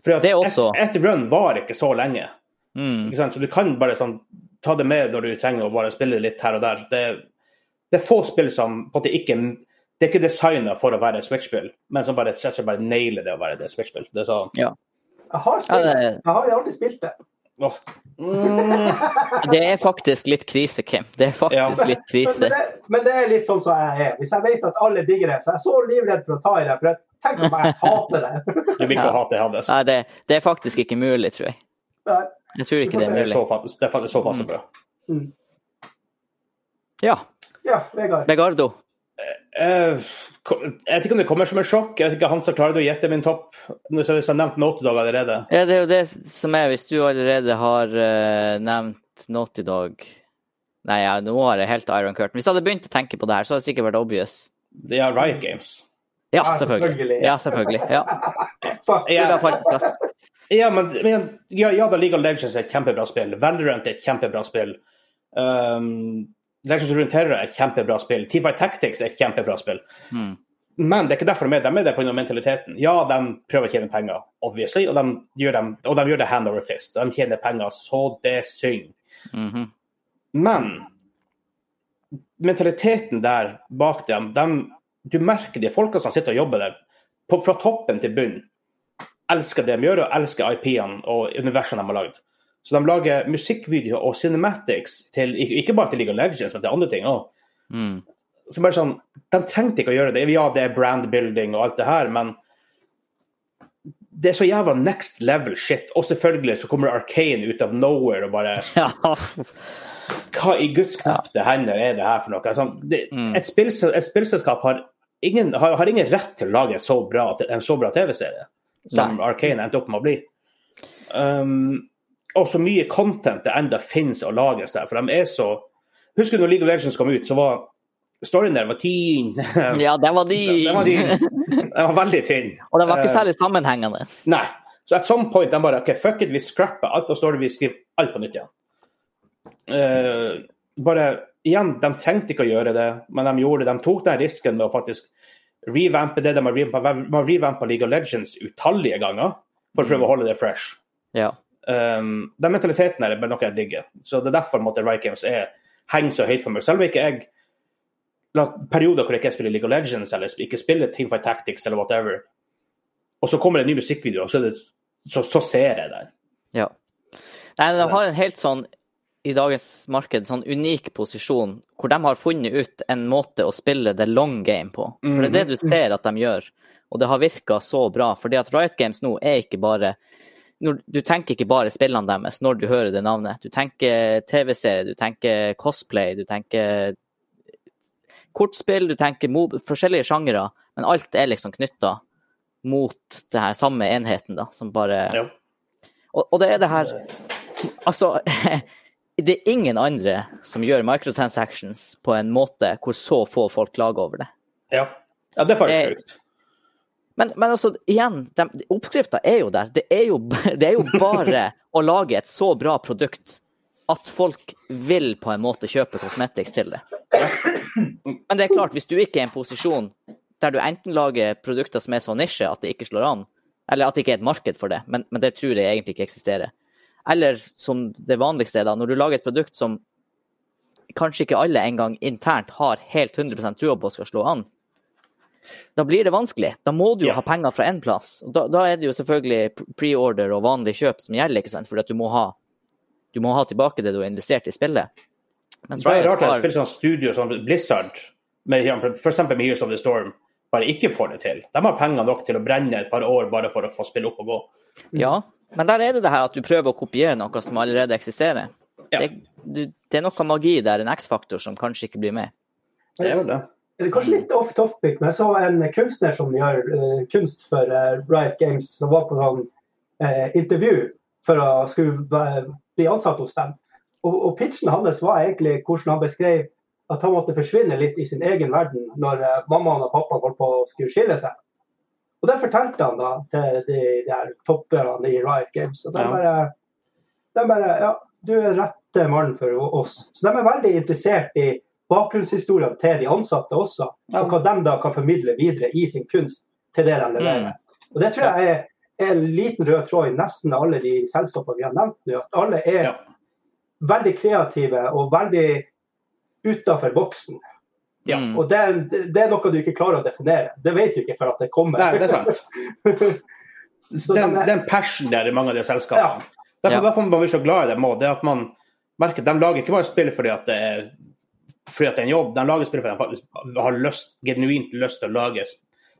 For
Det er også-
et, et run varer ikke så lenge.
Mm.
Ikke sant? Så du kan bare sånn, ta det med når du trenger å bare spille litt her og der. Det, det er få spill som på en måte ikke Det er ikke designa for å være et Switch-spill, men som bare, slett og slett bare nailer det å være et Switch-spill. Det er sånn
Jeg har spilt
Ja,
det.
det-
Jeg har aldri spilt det.
åh. Mm.
Det er faktisk litt krise, Kim. Det er faktisk
Ja.
litt
Men, men,
krise.
det, men det er litt sånn som jeg er. Hvis jeg vet at alle digger det, så er jeg så livredd for å ta i det. For jeg tenker om jeg hater det. (laughs)
Du vil ikke
Ja.
hate Hades.
Nei, det, det er faktisk ikke mulig, tror jeg.
Nei.
Jeg tror ikke det
Det
er
er
mulig.
så fa- det er faktisk såpass bra.
Mm.
Ja.
Ja, Vegard.
Vegardo.
Eh, ko- jeg vet ikke om det kommer som et sjokk. Jeg vet ikke, Hansa, klarer du å gjette min topp? Nå så Hvis jeg har nevnt Naughty Dog allerede.
Ja, det er jo det som er, hvis du allerede har eh, nevnt Naughty Dog Nei, ja, nå er det helt Iron Curtain. Hvis jeg hadde begynt å tenke på det her, så hadde det sikkert vært obvious.
Det er Riot Games.
Ja,
Ja,
selvfølgelig.
selvfølgelig.
Ja, selvfølgelig. Ja.
Fuck.
Så
Ja.
da falt det plass.
Ja, men, men ja, ja da, League of Legends er et kjempebra spill. Valorant er et kjempebra spill. Um, Legends of Runeterra er et kjempebra spill. T5 Tactics er et kjempebra spill.
Mm.
Men det er ikke derfor de er med. De er det pga. mentaliteten. Ja, de prøver å tjene penger, obviously, og de, gjør dem, og de gjør det hand over fist. De tjener penger så det synger.
Mhm.
Men mentaliteten der bak dem, dem Du merker de folka som sitter og jobber der, på, fra toppen til bunnen, elsker det de gjør, og elsker IP-ene og universene de har lagd. Så de lager musikkvideoer og cinematics til ikke ikke bare til League of Legends, men til andre ting òg.
mm.
Så bare sånn, De trengte ikke å gjøre det. Ja, det er brandbuilding og alt det her, men det er så jævla next level shit. Og selvfølgelig så kommer Arcane ut av nowhere og bare
Ja.
hva i guds knapte hender er det her for noe? Altså, det,
Mm.
et, spillse- et spillselskap har ingen, har, har ingen rett til å lage en så bra, en så bra TV-serie som Arcane endte opp med å bli. Um, og så mye content det enda finnes å lage der, for de er så Husker du når League of Legends kom ut, så var storyen der var tynn. (laughs) Den
ja, den var dyr.
var tynn. Den var veldig tynn.
Og den var ikke
Eh,
særlig sammenhengende.
Nei. Så at some point de bare OK, fuck it, vi scrapper alt, og så står det vi skriver alt på nytt igjen. Eh, bare igjen, de trengte ikke å gjøre det, men de gjorde det. De tok den risken med å faktisk revampe det de har revampa. De har revampa League of Legends utallige ganger for å prøve å holde det fresh.
Ja.
Um, den mentaliteten her er bare noe jeg digger. Så det er derfor på en måte, Riot Games er, henger så høyt for meg. Selv om ikke jeg la, Perioder hvor jeg ikke spiller League of Legends eller ikke spiller Teamfight Tactics eller whatever, og så kommer det en ny musikkvideo, og så, er det, så, så ser jeg den.
ja. Nei, de har en helt sånn, i dagens marked, sånn unik posisjon hvor de har funnet ut en måte å spille the long game på. For det er det du ser at de gjør, og det har virka så bra. Fordi at Riot Games nå er ikke bare når, Du tenker ikke bare spillene deres når du hører det navnet. Du tenker TV-serie, du tenker cosplay, du tenker kortspill, du tenker mo forskjellige sjangere. Men alt er liksom knytta mot den her samme enheten, da, som bare
Ja.
og, og det er det her Altså, (laughs) det er ingen andre som gjør microtransactions på en måte hvor så få folk klager over det.
Ja. ja, det er faktisk
Det-
sjukt.
Men, men altså, igjen, de, oppskrifta er jo der. Det er jo, (laughs) b- det er jo bare å lage et så bra produkt at folk vil på en måte kjøpe Cosmetics til det. Men det er klart, hvis du ikke er i en posisjon der du enten lager produkter som er så nisje at det ikke slår an, eller at det ikke er et marked for det, men, men det tror jeg egentlig ikke eksisterer, eller som det vanligste er da, når du lager et produkt som kanskje ikke alle engang internt har helt 100 trua på skal slå an, da blir det vanskelig. Da må du jo
Ja.
ha penger fra én plass. Og Da, da er det jo selvfølgelig pre- pre-order og vanlig kjøp som gjelder, ikke sant? fordi at du må, ha, du må ha tilbake det du har investert i spillet. Mens
Det er
Riot
rart at
har-
et spill som studio som Blizzard, med f.eks. med Heroes of the Storm, bare ikke får det til. De har penger nok til å brenne et par år bare for å få spillet opp og gå.
Ja, men der er det det her at du prøver å kopiere noe som allerede eksisterer.
Ja.
Det, du, det er noe magi der, en X-faktor, som kanskje ikke blir med.
Det er jo det.
Det er kanskje litt off topic, men jeg så en kunstner som gjør eh, kunst for eh, Riot Games, som var på sånn eh, intervju for å skulle eh, bli ansatt hos dem. Og, og pitchen hans var egentlig hvordan han beskrev at han måtte forsvinne litt i sin egen verden når eh, mammaen og pappaen holdt på å skulle skille seg. Og det fortalte han da til de der topperne i Riot Games. Og de
Ja.
bare, de bare Ja, du er rette mannen for oss. Så de er veldig interessert i bakgrunnshistoriene til de ansatte også, og hva de da kan formidle videre i sin kunst til det de
Mm.
leverer. Og Det tror jeg er, er en liten rød tråd i nesten alle de selskapene vi har nevnt nå. At alle er
Ja.
veldig kreative og veldig utafor boksen.
Ja.
Mm.
Og det, er- det er noe du ikke klarer å definere. Det vet du ikke før at det kommer.
Nei, det er
(laughs)
sant.
Så
Den,
de er-
den passion der i mange av de selskapene. Derfor,
Ja.
derfor man blir så glad i dem også, Det er at man merker at de lager ikke bare spill fordi at det er, fordi at det er en jobb, de lager spill fordi de faktisk har lyst, genuint lyst til å lage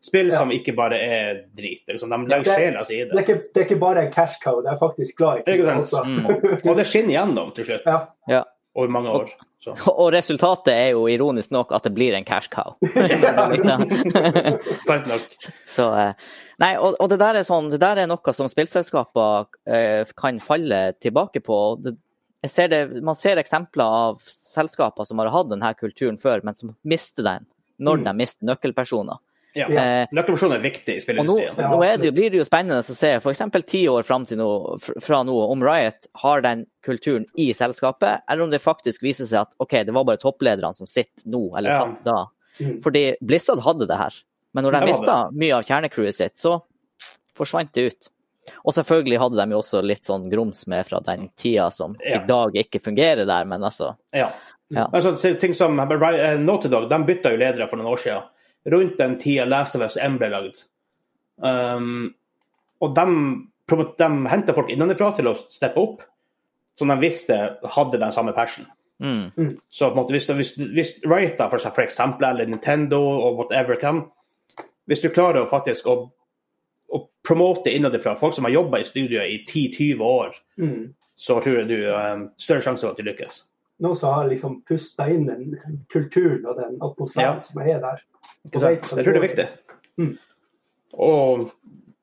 spill
Ja.
som ikke bare er drit. Liksom. De
Ja,
legger
det-
sjela si i
det, er
det.
ikke, det er ikke bare en cash cow, det er faktisk glad i
Ikke sant?
også.
Mm.
Og det skinner gjennom til slutt,
Ja.
Ja.
over mange år. Så.
Og resultatet er jo ironisk nok at det blir en cash cow. (laughs)
Mm.
(laughs)
Fint nok.
Så, eh, nei, og, og det, der er sånn, det der er noe som spillselskaper eh, kan falle tilbake på. Det, jeg ser det, man ser eksempler av selskaper som har hatt denne kulturen før, men som mister den når
Mm.
de mister nøkkelpersoner.
Ja.
Eh,
Nøkkelpersonen er viktig i
og nå,
spillindustrien.
Ja,
nå er det, jo- blir det jo spennende å se f.eks. ti år fram til nå, fr- fra nå om Riot har den kulturen i selskapet, eller om det faktisk viser seg at OK, det var bare topplederne som sitter nå, eller
Ja.
satt da.
Mm.
Fordi Blizzard hadde det her. Men når de
De hadde
mista mye av kjernecrewet sitt, så forsvant det ut. Og selvfølgelig hadde de jo også litt sånn grums med fra den tida som
Ja.
i dag ikke fungerer der, men altså
Ja.
Ja.
Men så til ting som men Ri- eh, Naughty Dog de bytta jo ledere for noen år siden. Rundt den tida Last of Us M ble lagd. Um, og de, promo- de henta folk innenfra til å steppe opp, som de visste hadde den samme passion.
mm.
Så på en måte, hvis, hvis, hvis Riot da, for, eksempel- for eksempel, eller Nintendo og whatever kan, hvis du klarer å faktisk å, å promote innenfra folk som har jobba i studioet i 10-20 år,
Mm.
så tror jeg du um, større sjanse for at du lykkes.
Noen som har liksom pusta inn den kulturen og den atmosfæren
Ja.
som er der.
Ikke sant? Jeg tror det er viktig.
Mm.
Og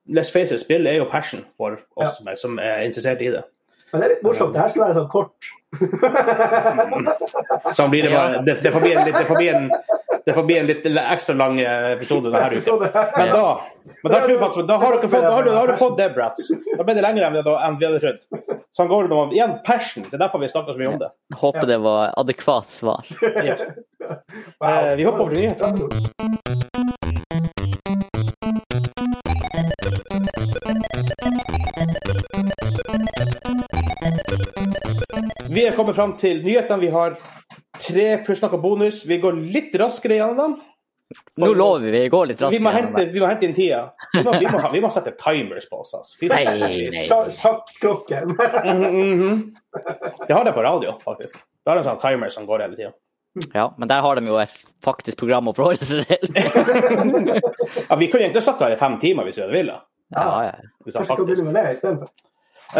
let's face it, spill er jo passion for
Ja.
oss som, er, som er interessert i det.
Men det er litt morsomt. Det her skulle være sånn kort.
Så blir det, bare, det, det, får bli en, litt- det, får bli en, det får bli en litt ekstra lang eh, episode denne uka. Men da, men da, tror jeg faktisk, da, har dere fått, da, har du, da har du fått det, Bratz. Da ble det lengre enn vi hadde- enn vi hadde trodd. Sånn går det nå. Igjen, passion. Det er derfor vi snakker så mye om det.
Håper det var adekvat svar.
(laughs) Ja. Eh, vi hopper over til nyheter. Vi er kommet fram til nyhetene. Vi har tre pluss noe bonus. Vi går litt raskere gjennom dem.
Nå lover vi, vi går litt
Vi
raskt
må
gjennom
hente,
det.
vi må hente inn tida. Vi må, vi må, ha- vi må sette timers på oss. Altså. Fy faen.
Nei, nei.
(laughs)
Sjakklokke.
Mhm, mhm. Det har de på radio, faktisk. Da har de en sånn timer som går hele tida.
Ja, men der har de jo et faktisk program å forholde seg til.
Ja, vi kunne egentlig snakka her i fem timer hvis vi hadde villet.
Ja, ja.
Hvis han
Kanskje vi kan
faktisk
begynne med det istedenfor.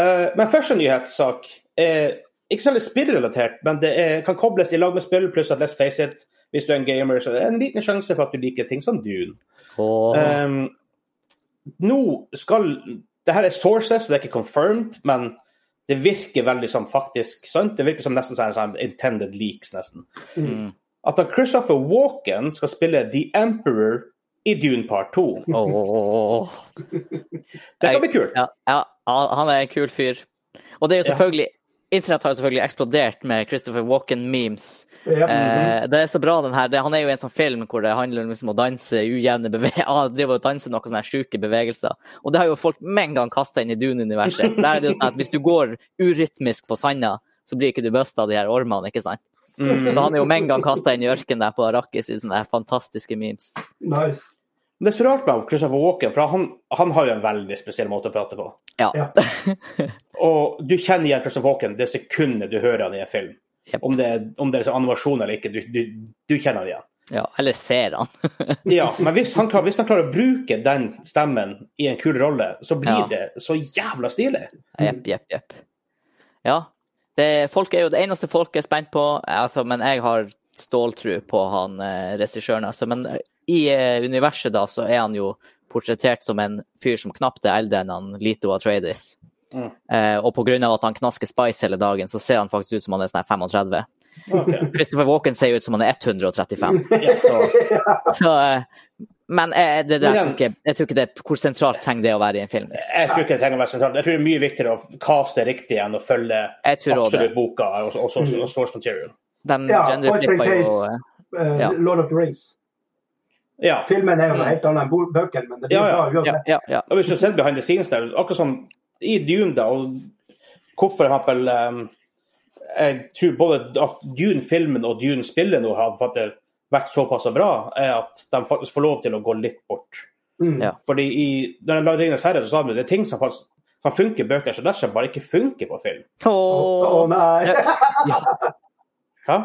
Eh, men første nyhetssak er ikke så veldig spillrelatert, men det er, kan kobles i lag med spill, pluss at let's face it, hvis du er en gamer, så er det en liten sjanse for at du liker ting som Dune.
Og,
Ehm, nå skal det her er sources, så det er ikke confirmed, men det virker veldig som faktisk sant. Det virker som nesten sånn, sånn intended leaks, nesten.
Mm.
At han Christopher Walken skal spille The Emperor i Dune Part 2.
Åh.
Det kan bli kult.
Ja, ja, han er en kul fyr. Og det er jo
Ja.
selvfølgelig Internett har jo selvfølgelig eksplodert med Christopher Walken-memes.
Ja.
Eh, det er så bra, den her. Det, han er jo i en sånn film hvor det handler om liksom å danse ujevne (laughs) bevegelser. Han driver og danser noen sånne her sjuke bevegelser. Og det har jo folk med en gang kasta inn i Dune-universet. For Der er det jo sånn at hvis du går urytmisk på sanda, så blir ikke du busta av de her ormene, ikke sant?
Mm.
Så han er jo med en gang kasta inn i ørkenen der på Arrakis i sånne her fantastiske memes.
Nice.
Det er så rart med Christopher Walken, for han, han har jo en veldig spesiell måte å prate på.
Ja.
(laughs)
Ja.
Og du kjenner igjen Christopher Walken det sekundet du hører han i en film.
Jep.
Om, det, er- om det er sånn animasjon eller ikke, du, du, du kjenner han igjen.
ja. Eller ser han.
Ja, Men hvis han, klarer, hvis han klarer å bruke den stemmen i en kul rolle, så blir
Ja.
det så jævla stilig.
Jepp, jepp, jepp. Ja. Det, folk er jo det eneste folk er spent på, altså, men jeg har ståltru på han eh, regissøren. Altså, men i eh, universet da, så er han jo portrettert som en fyr som knapt er eldre enn han Lito Atreides.
Mm.
Eh, og på grunn av at han knasker Spice hele dagen, så ser han faktisk ut som han er sånn her 35.
Ok.
Christopher Walken ser jo ut som han er 135.
Ja, så-
Så, eh, men eh, det der,
Men
jeg,
han-
tror ikke, jeg tror ikke det Hvor sentralt trenger det å være i en film? Liksom.
Jeg tror ikke det trenger å være sentralt. Jeg tror det er mye viktigere å caste riktig enn å følge
Jeg tror også det.
absolutt boka og, og, og, og source material.
De
Ja,
genderflippa
point in
jo eh,
case. Eh,
Ja.
Lord of the Rings.
Ja.
Filmen er jo
Mm.
noe helt annet enn bo- bøkene, men det blir
Ja, ja.
bra
Ja,
uansett.
ja, ja.
Og hvis du ser behind the scenes der, akkurat som i Dune, da, og hvorfor for eksempel ehm, Jeg tror både at Dune-filmen og Dune-spillet nå har faktisk vært såpass bra, er at de faktisk får lov til å gå litt bort.
Mm.
Ja.
Fordi i, når de lagde 'Ringenes herre', så sa de at det er ting som, faktisk, som funker i bøker, så det som bare ikke funker på film.
Å å,
Åh,
nei!
Hæ?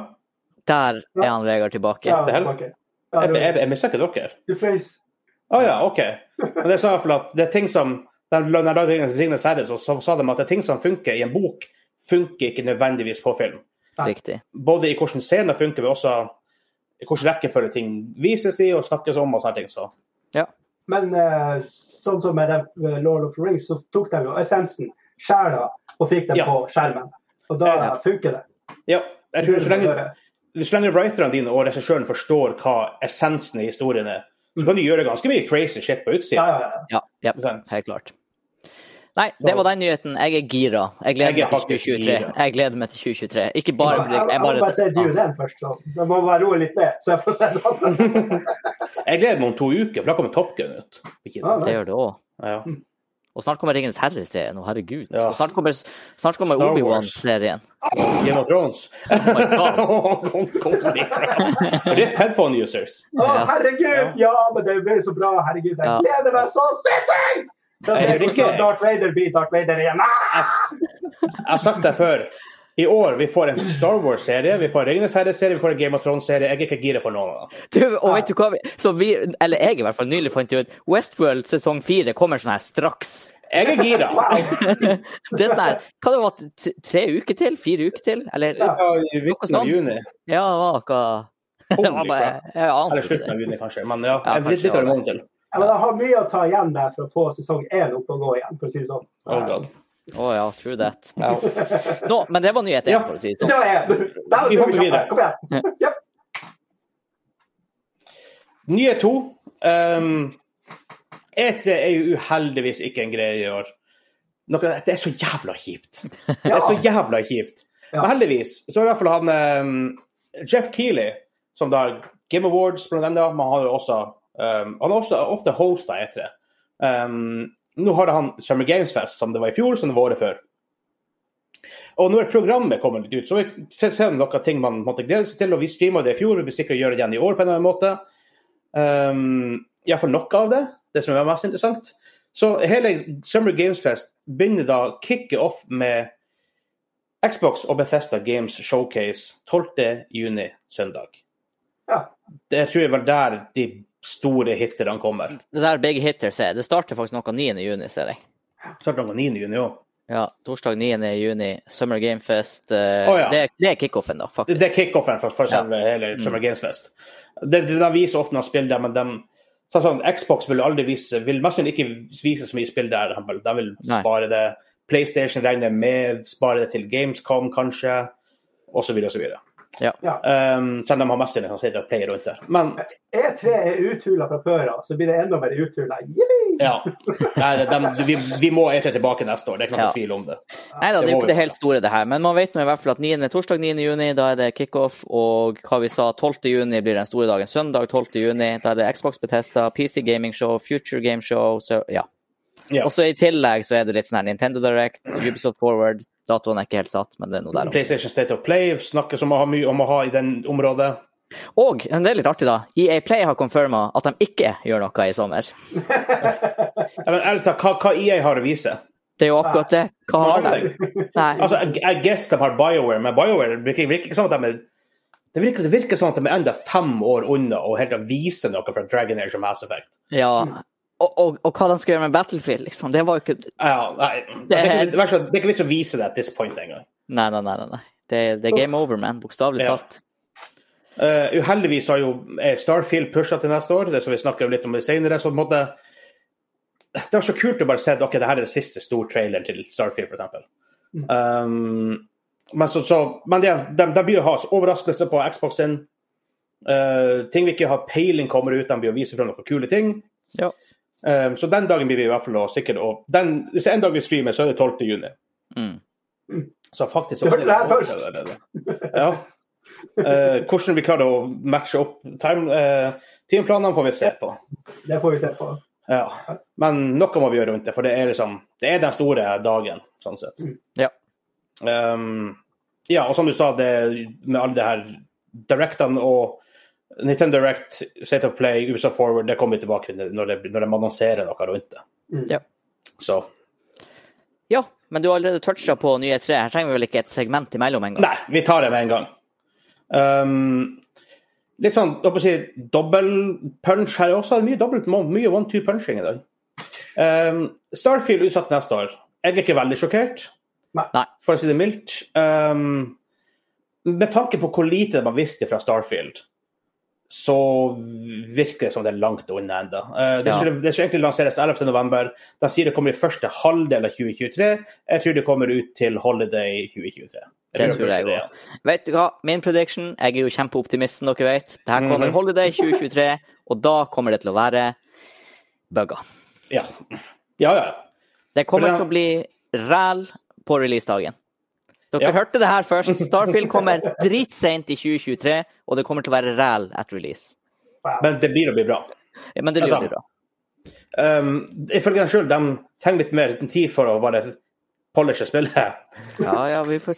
der er han Vegard tilbake.
Ja,
det er helt-
ok. Ja,
Jeg,
du-
jeg, jeg mister ikke dere.
Du frøys.
Å ja, OK. Men det sa i hvert fall at det er ting som Når de lagde 'Ringenes herre', så, så sa de at det er ting som funker i en bok, funker ikke nødvendigvis på film.
Riktig.
både i hvordan scener funker, men også i hvordan rekkefølge ting vises i og snakkes om. og sånne ting. Så.
Men eh, sånn som med den, eh, Lord of the Rings, så tok de jo essensen, sjela, og fikk den
Ja.
på skjermen. Og Og da funker det.
Ja, jeg tror så lenge, så lenge writerne dine og regissøren forstår hva essensen i historien er, så kan du gjøre ganske mye crazy shit på
Ja,
utsida.
ja, ja.
Ja, ja
Sant.
helt klart. Nei, det var den nyheten. Jeg er gira. Jeg gleder
Jeg er
meg til
faktisk
2023.
gira.
Jeg gleder meg til 2023. Ikke bare
Jeg,
fordi
jeg,
jeg
må bare se
bare
Dune først, så jeg må bare roe litt ned. Så jeg får se den.
(laughs) Jeg gleder meg om to uker, for da kommer Top Gun ut. Ikke det.
Ja,
Ah, Det gjør det òg.
Ja.
Og snart kommer Ringenes herre-serien. Å, herregud.
Ja.
Og snart kommer, snart kommer
Star Wars.
Obi-Wan-serien.
Game of Thrones.
my God.
(laughs) Kom- kom dit. For det er headphone users.
Å, herregud! Ja, men det blir så bra. Herregud,
Ja.
jeg gleder meg så sinnssykt! Da ser
Jeg gjør
jeg
ikke.
hvordan Darth Vader blir Darth Vader igjen. Ah!
Jeg, jeg har sagt det før. I år vi får en Star Wars-serie, vi får en Ringenes herre-serie, vi får en Game of Thrones-serie. Jeg er ikke gira for noen av dem.
Du, og vet du hva? vi- Så vi, eller jeg i hvert fall, nylig fant ut Westworld sesong fire kommer sånn her straks.
Jeg er gira. (laughs)
Wow.
Det er sånn her Hva det var t- tre uker til? Fire uker til? Eller
Ja.
Ja, I midten av (laughs) juni.
Ja, det var noe
Holy
Det var bare
crap.
Jeg ante
Eller
ikke
slutten
det.
av juni, kanskje. Men ja,
Ja,
en litt, litt av en måned til.
Ja, men jeg har mye å ta igjen der for å få sesong én opp og gå igjen, for å si det sånn. Så,
Oh God.
Å ja, true that.
Ja.
Nå, men det var nyhet én,
Ja.
for å si det
Det
sånn.
var jeg. Der var
Vi hopper
du kjapp.
videre.
Kom igjen. Ja.
Nye to. Um, E3 E er jo uheldigvis ikke en greie i år. Noe, det er så jævla kjipt. Det
Altså,
er så jævla kjipt.
Ja.
Men heldigvis så er i hvert fall han um, Jeff Keeley, som da Game Awards blant annet, men han har jo også um, Han har også ofte hosta E3. Um, nå har han Summer Games Fest, som det var i fjor, som det var året før. Og når programmet kommer litt ut, så ser vi noen ting man måtte glede seg til. Og vi streama det i fjor, vi blir sikkert gjøre det igjen i år på en eller annen måte. Um, Iallfall noe av det, det som er mest interessant. Så hele Summer Games Fest begynner da å kicke off med Xbox og Bethesda Games Showcase 12.6 søndag.
Ja.
Det tror jeg var der de store hitterne kommer.
Det der Big Hitters er. Det starter faktisk noe 9. juni, ser jeg.
Starter den på 9. juni òg.
Ja, torsdag 9. juni, Summer Game Fest. eh,
Å, ja.
Det, det er kickoffen, da, faktisk.
Det er kickoffen for, for selve hele Summer Games Fest. De, de, de viser ofte noen spill der, men de, sånn, som Xbox vil aldri vise vil mest sannsynlig ikke vise så mye spill der. Humble. De vil
Nei.
spare det. PlayStation regner jeg med, spare det til Gamescom kanskje, osv. osv.
Ja.
Um, selv om de har mest sannsynlig kan si det er player rundt der. Men
E3 E er uthula fra før av, så blir det enda mer uthula. Yippee!
ja. Nei, de, de, vi, vi må etter tilbake neste år, det er ikke noen
Ja.
tvil om det.
Nei
Det
da, det er jo
må
ikke
vi
det helt store, det her. Men man vet nå i hvert fall at 9. torsdag 9. juni, da er det kickoff. Og hva vi sa, 12. juni blir den store dagen. Søndag 12. juni, da er det Xbox Betesta, PC Gaming Show, Future Game Show, så ja.
Ja.
Og så i tillegg så er det litt sånn her Nintendo Direct, Ubisoft Forward. Datoen er ikke helt satt, men det er noe der. også.
PlayStation State of Play snakkes om å ha mye om å ha i den området.
Og men det er litt artig, da. EA Play har confirma at de ikke gjør noe i sommer.
Ja, Men ærlig talt, hva, hva EA har å vise?
Det er jo akkurat det. Hva har de? Nei.
Altså, I, I guess de har BioWare, men BioWare virker, virker ikke sånn at de er det virker, det virker sånn at de er enda fem år unna å helt klart vise noe fra Dragon Age og Mass Effect.
Ja. Og, og, og hva de skal gjøre med Battlefield, liksom. Det var jo ikke
Ja, nei, det, er ikke, det, er ikke, det er ikke vits å vise det at this point engang.
Nei, nei, nei. nei, nei. Det, det er game over, man. Bokstavelig
Ja.
talt.
Uh, uheldigvis har jo eh, Starfield pusha til neste år, det skal vi snakke litt om det senere. Så på en måte, det var så kult å bare se at ok, det her er den siste store traileren til Starfield, f.eks. Um, men så, så, men det, de, de blir å ha overraskelser på Xbox sin. Uh, ting vi ikke har peiling kommer ut, de blir å vise fram noen kule ting.
Ja.
Um, så den dagen blir vi i hvert fall å sikkert å- den, Hvis det er en dag vi streamer, så er det 12. juni.
Mm.
Så faktisk
Du hørte det her først.
Ja. Eh, hvordan vi klarer å matche opp time, eh, timeplanene, får vi se på.
Det får vi se på.
Ja. Men noe må vi gjøre rundt det, for det er, liksom, det er den store dagen, sånn sett.
Mm.
Ja.
Um, ja, og som du sa, det, med alle de her directene og Nintendo Direct, State of Play, Ubisoft Forward, det kommer vi tilbake til når, det, når de annonserer noe rundt det.
Mm.
Ja.
Så
ja, men du har allerede toucha på nye tre. Her trenger vi vel ikke et segment imellom engang?
Nei, vi tar det med en gang. Um, litt sånn jeg håper å si, dobbel punch her også. Det er Mye dobbelt, mye one-two-punching i dag. Um, Starfield utsatt neste år. Jeg er ikke veldig sjokkert,
Nei.
for å si det mildt. Um, med tanke på hvor lite man visste fra Starfield, så virker det som det er langt unna ennå. det,
Ja.
skulle, det skulle egentlig lanseres 11.11. De sier det kommer i første halvdel av 2023. Jeg tror det kommer ut til holiday 2023.
Det
tror
tror jeg
kanskje det,
òg. Vet du hva, min prediction Jeg er jo kjempeoptimist, som dere vet. Det her kommer
Mhm.
Holiday 2023, og da kommer det til å være bugger.
Ja. ja, ja.
Det kommer
For det-
til å bli ræl på releasedagen. Dere
Ja.
hørte det her først. Starfield kommer dritseint i 2023, og det kommer til å være ræl at release.
Men det blir å bli bra.
Ja, Men det
Altså,
blir jo bra.
Um, ifølge dem sjøl, de trenger litt mer tid for å bare polishe spillet.
Ja, ja, vi får...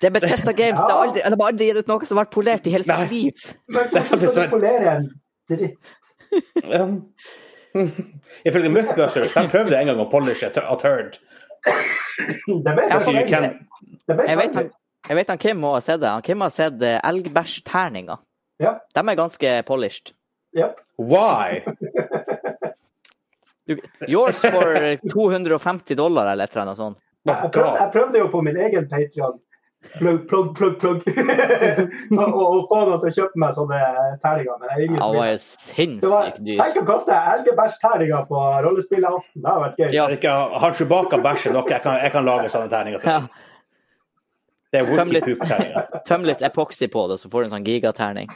Det er Bethesda Games. Det har aldri, de har aldri gitt ut noe som har vært polert i hele
Nei.
sitt liv.
Men hvordan
faktisk
skal
sant.
du polere en dritt?
Um, (laughs) ifølge Mythbusters, de prøvde en gang å polishe a turd.
Det vet
Ja,
So you
jeg
can...
faktisk. Det sånn- vet
Jeg
jeg
vet, han, jeg vet han Kim må ha sett det. Han Kim har sett eh, elgbæsjterninger.
Ja.
De er ganske polished.
Ja.
Why?
Du, yours for eh, 250 dollar eller et eller annet sånt.
Oh,
Jeg prøvde,
God.
jeg prøvde jo på min egen Patreon Plugg, plugg, plugg, plugg. (laughs) Og- og- og få noen til å kjøpe meg sånne terninger. Men det er ingen
Han
som
var
vil.
jo
Det var-
sinnssykt dyr.
Tenk å kaste elgebæsjterninger på rollespillaften. Det hadde vært gøy.
Ja.
Ikke, har Chewbacca bæsjet nok? Jeg kan, jeg kan lage sånne terninger.
Ja,
til. Det er
Tøm litt.
Wookie-poop-terninger.
(laughs) tøm litt epoxy på det, så får du en sånn
(laughs)
gigaterning.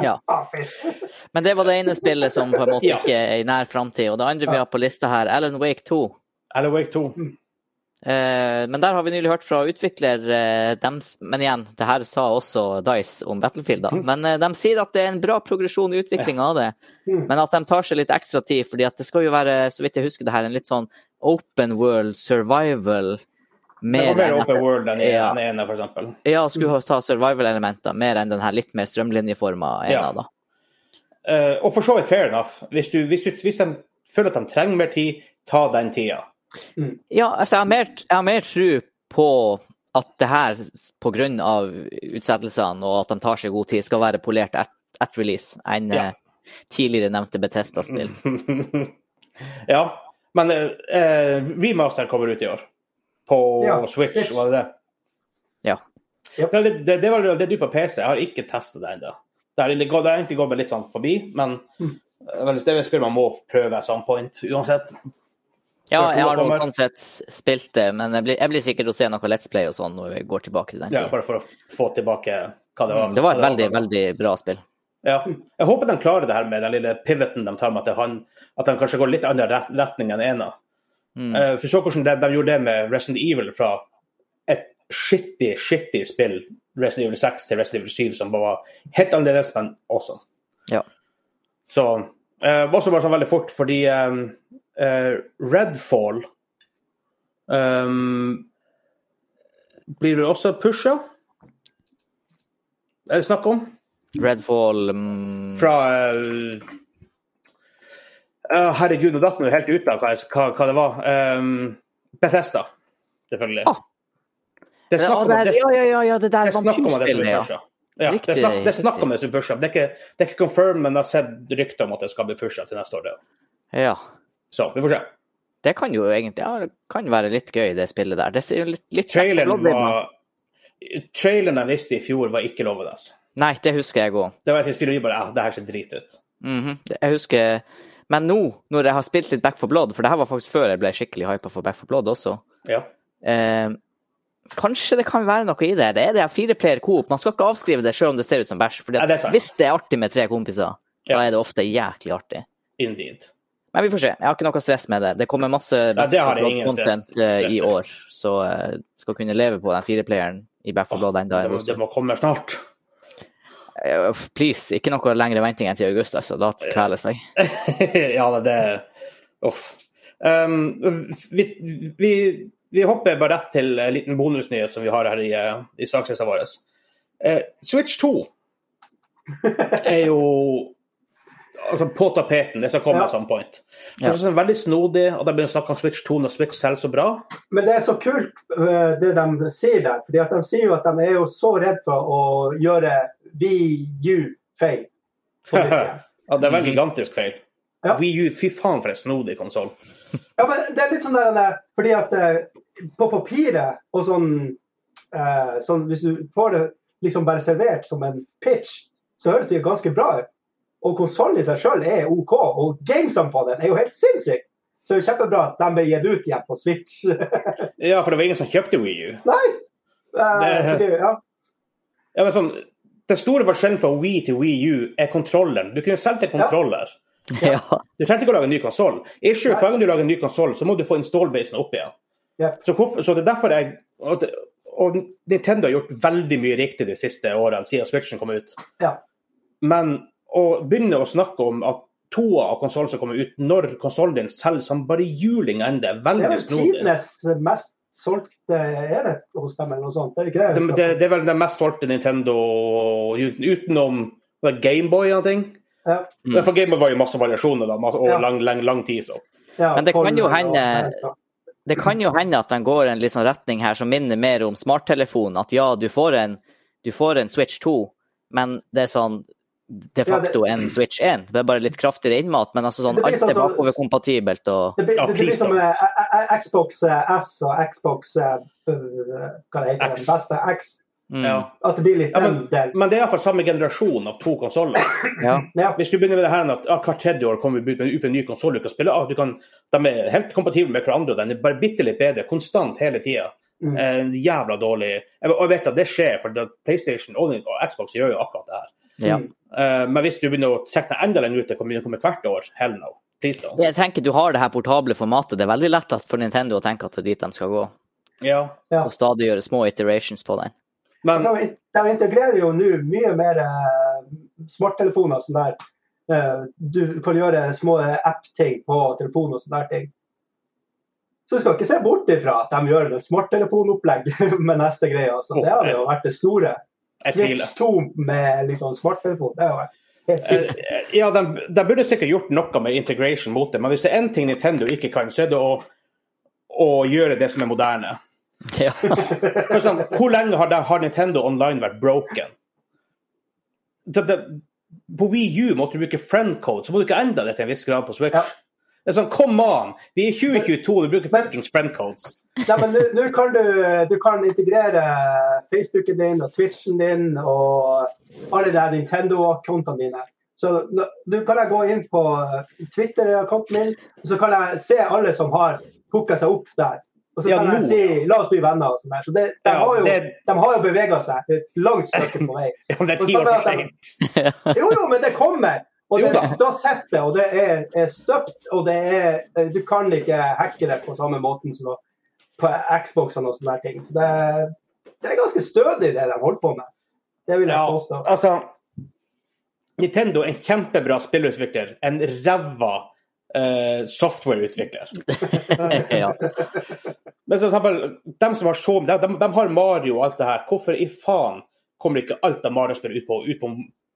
Ja.
Ah, fy. (laughs)
Men det var det ene spillet som på en måte
Ja.
ikke er i nær framtid. Og det andre vi har på lista her, Alan Wake 2.
Eller Wake 2.
Eh, men der har vi nylig hørt fra utvikler eh, dems, Men igjen, det her sa også Dice om Battlefield, da.
Mm.
Men eh, de sier at det er en bra progresjon i utviklinga av det.
Mm.
Men at de tar seg litt ekstra tid, fordi at det skal jo være, så vidt jeg husker det her, en litt sånn open world survival.
Det
Mer
var mer
enn
Open World enn i
Ja.
enn i ene, for eksempel.
Ja, skulle ha ta survival-elementer, mer enn den her litt mer strømlinjeforma ena,
Ja.
da.
Eh, og for så vidt fair enough. Hvis, du, hvis, du, hvis de føler at de trenger mer tid, ta den tida.
Ja, altså, jeg har mer, jeg har mer tro på at det her, pga. utsettelsene og at de tar seg god tid, skal være polert at, at release enn
Ja. Mm.
eh, tidligere nevnte Bethesda-spill.
ja. Men eh, eh, remasteren kommer ut i år. På
Ja,
Switch,
Switch.
var det det?
Ja.
Yep.
Det, det, det, det var det du på PC. Jeg har ikke testet det ennå. Det har egentlig gått- det har egentlig gått meg litt sånn forbi, men
Mm.
eh, vel, det er et spill man må prøve at some point uansett.
Ja,
Før to
jeg har nå
kommer.
sånn sett spilt det, men jeg blir, jeg blir sikkert å se noe Let's Play og sånn når vi går tilbake til den
Ja,
tiden.
bare for å få tilbake hva det var.
Det var et
hva
veldig, veldig bra spill.
Ja. Jeg håper de klarer det her med den lille pivoten de tar med at, det han, at de kanskje går litt annen ret- retning enn ena.
Mm.
Eh, for så hvordan de, de gjorde det med Resident Evil fra et skittig, skittig spill, Resident Evil 6 til Resident Evil 7, som bare var helt annerledes, men awesome.
Ja.
Så eh, Også bare sånn veldig fort, fordi eh, eh, Redfall eh, Blir det også pusha? Er det snakk om?
Redfall mm,
fra eh, eh, Herregud, nå datt jeg helt ut av hva, hva, hva det var. Ehm, Bethesda, selvfølgelig.
Ah.
Det er
Ja,
snakk om
det er,
det-
ja, ja, ja, ja, det der
det er snakk om det som
vampyrspillet,
blir
ja.
pusha. Ja, det er
Riktig,
snakk- det er snakk om
riktig.
det som blir pusha. Det, er ikke- det er ikke confirmed, men jeg har sett rykter om at det skal bli pusha til neste år. Det.
Ja.
Så vi får se.
Det kan jo egentlig ja, det kan være litt gøy, det spillet der. Det ser jo litt, litt
Traileren
Bloodborne.
var Traileren jeg visste i fjor, var ikke lovende.
Nei, det husker jeg òg.
Det var jeg som spiller, bare, ah, det her ser drit ut. Mhm.
Jeg husker Men nå, når jeg har spilt litt Back for Blood, for det her var faktisk før jeg ble skikkelig hypa for Back for Blood også
Ja.
eh, Kanskje det kan være noe i det. Det er det her fireplayer coop. Man skal ikke avskrive det sjøl om det ser ut som bæsj. For
Ja, det er sant.
hvis det er artig med tre kompiser,
Ja.
da er det ofte jæklig artig.
Indeed.
Men vi får se. Jeg har ikke noe stress med det. Det kommer masse
Ja, det har jeg ingen stress-
content eh,
stress
i
til.
år, så eh, skal kunne leve på den fireplayeren i Back for Blood enda.
Ah, Det må, det må komme snart.
Eh, Please, ikke noe lengre venting enn til august, altså. Da kveles jeg.
(laughs) ja, det- det Uff. Um, vi, vi, vi hopper bare rett til en liten bonusnyhet som vi har her i, eh, i sakslista vår. Eh, Switch 2 er jo altså, på tapeten. Det skal komme
Ja.
at some point. For det
Ja.
er sånn veldig snodig at de begynner å snakke om Switch 2 når Switch selger så bra.
Men det er så kult eh, det de sier der. fordi at De sier jo at de er jo så redd for å gjøre VU-feil. Ja,
Ja, det er veldig gigantisk feil.
Mhm. Ja.
Wii U, fy faen for en snodig konsoll.
men det er litt sånn der, eh, fordi at eh, på papiret og sånn, eh, sånn Hvis du får det liksom bare servert som en pitch, så høres det jo ganske bra ut. Og konsollen i seg sjøl er OK, og gamesene på den er jo helt sinnssykt. Så det er jo kjempebra at de ble gitt ut igjen på Switch. (laughs)
Ja, for det var ingen som kjøpte Wii U.
Nei! Eh,
Det-
fordi, ja.
Ja, men sånn, den store forskjellen fra Wii til Wii U er kontrolleren. Du kunne solgt en kontroller.
(laughs) Ja.
Du trengte ikke å lage en ny konsoll. Hver
Nei.
gang du lager en ny konsoll, så må du få installbasen opp igjen.
Ja.
Så, hvorfor, så det er derfor jeg og, det- og Nintendo har gjort veldig mye riktig de siste årene siden Switchen kom ut.
Ja.
Men å begynne å snakke om at to av konsollen som kommer ut når konsollen din selger som bare juling ennå, er
Det er
veldig
vel
snodig.
tidenes mest solgte er det hos dem, eller noe sånt. Er det ikke
Det,
det?
det, det er vel den mest solgte Nintendo uten- utenom Gameboy og ting.
Ja.
Mm.
For Gameboy var jo masse variasjoner da, masse- over
Ja.
lang, lang, lang tid. så.
Ja,
Men det kan jo
Colin og
hende-
Fenstad.
Det kan jo hende at den går en litt sånn retning her som minner mer om smarttelefon. At ja, du får en, du får en Switch 2, men det er sånn de
Ja, det-
facto en Switch 1. Det er bare litt kraftigere innmat, men altså sånn,
Det blir
alt er
sånn som-
bakoverkompatibelt og
Det blir,
Ja,
det blir
please
som
don't.
eh, eh, eh, Xbox eh, S og Xbox eh, øh, Hva det heter
X.
den beste? X.
mm,
Ja.
At det blir litt
Ja,
den delen.
Men det er iallfall samme generasjon av to konsoller.
ja.
Ja.
Hvis du begynner med det her at ah, hvert tredje år kommer vi ut med ut med en ny konsoll du kan spille ah, du kan, De er helt kompatible med hverandre, og den er bare bitte litt bedre konstant hele tida.
Mm.
Eh, jævla dårlig Jeg- Og jeg vet at det skjer, for det- PlayStation og og Xbox gjør jo akkurat det her.
ja.
Eh, men hvis du begynner å trekke den enda lenger ut, det kommer, det kommer hvert år. Hell no. Please don't.
Jeg tenker du har det her portable formatet. Det er veldig lettest for Nintendo å tenke at det er dit de skal gå.
Ja.
Ja.
Og stadig gjøre små iterations på den. (laughs)
Men
De, de integrerer jo nå mye mer eh, smarttelefoner som der. eh, du kan gjøre små eh, app-ting på telefonen og sånne der ting. Så du skal ikke se bort ifra at de gjør et smarttelefonopplegg (laughs) med neste greie. Altså. Det hadde jo vært det store.
jeg tviler.
Switch 2 med liksom, smarttelefon. Det hadde vært helt
Eh,
sykt.
Ja, de, de burde sikkert gjort noe med integration mot det, men hvis det er én ting Nintendo ikke kan, så er det å, å gjøre det som er moderne.
Ja.
(laughs)
For eksempel, hvor lenge har, de, har Nintendo Online vært broken? Det, det, på Wii U måtte du bruke friend code, så må du ikke endre det til en viss grad på Switch.
Ja.
Det er sånn, come on! Vi er i 2022, du bruker
Men-
fuckings friend codes.
Nei, men nå- Nå kan du, du kan integrere Facebooken din og Twitchen din og alle de her Nintendo-kontene dine. Så nå- nå kan jeg gå inn på Twitter-konten min, og så kan jeg se alle som har hooka seg opp der. Og så
Ja,
kan
nå.
jeg si 'la oss bli venner' og sånn der. Så det, de,
Ja,
har jo,
det-
de har jo bevega seg et langt stykke på vei.
Ja, men det er
Og
ti
så
år
bare
for
at de-
seint.
Jo, jo, men det kommer. Og
Jo
det,
da.
da sitter det, og det er, er støpt, og det er eh, Du kan ikke hacke det på samme måten som på Xboxene og sånne der ting. Så det, det er ganske stødig, det de holder på med. Det vil jeg
Ja,
påstå.
altså Nintendo er en kjempebra spillutvikler. En ræva eh, softwareutvikler.
ja.
Men så, eksempel, de som har så de, de, de har Mario og alt det her. Hvorfor i faen kommer ikke alt av Mario-spill ut på, ut på,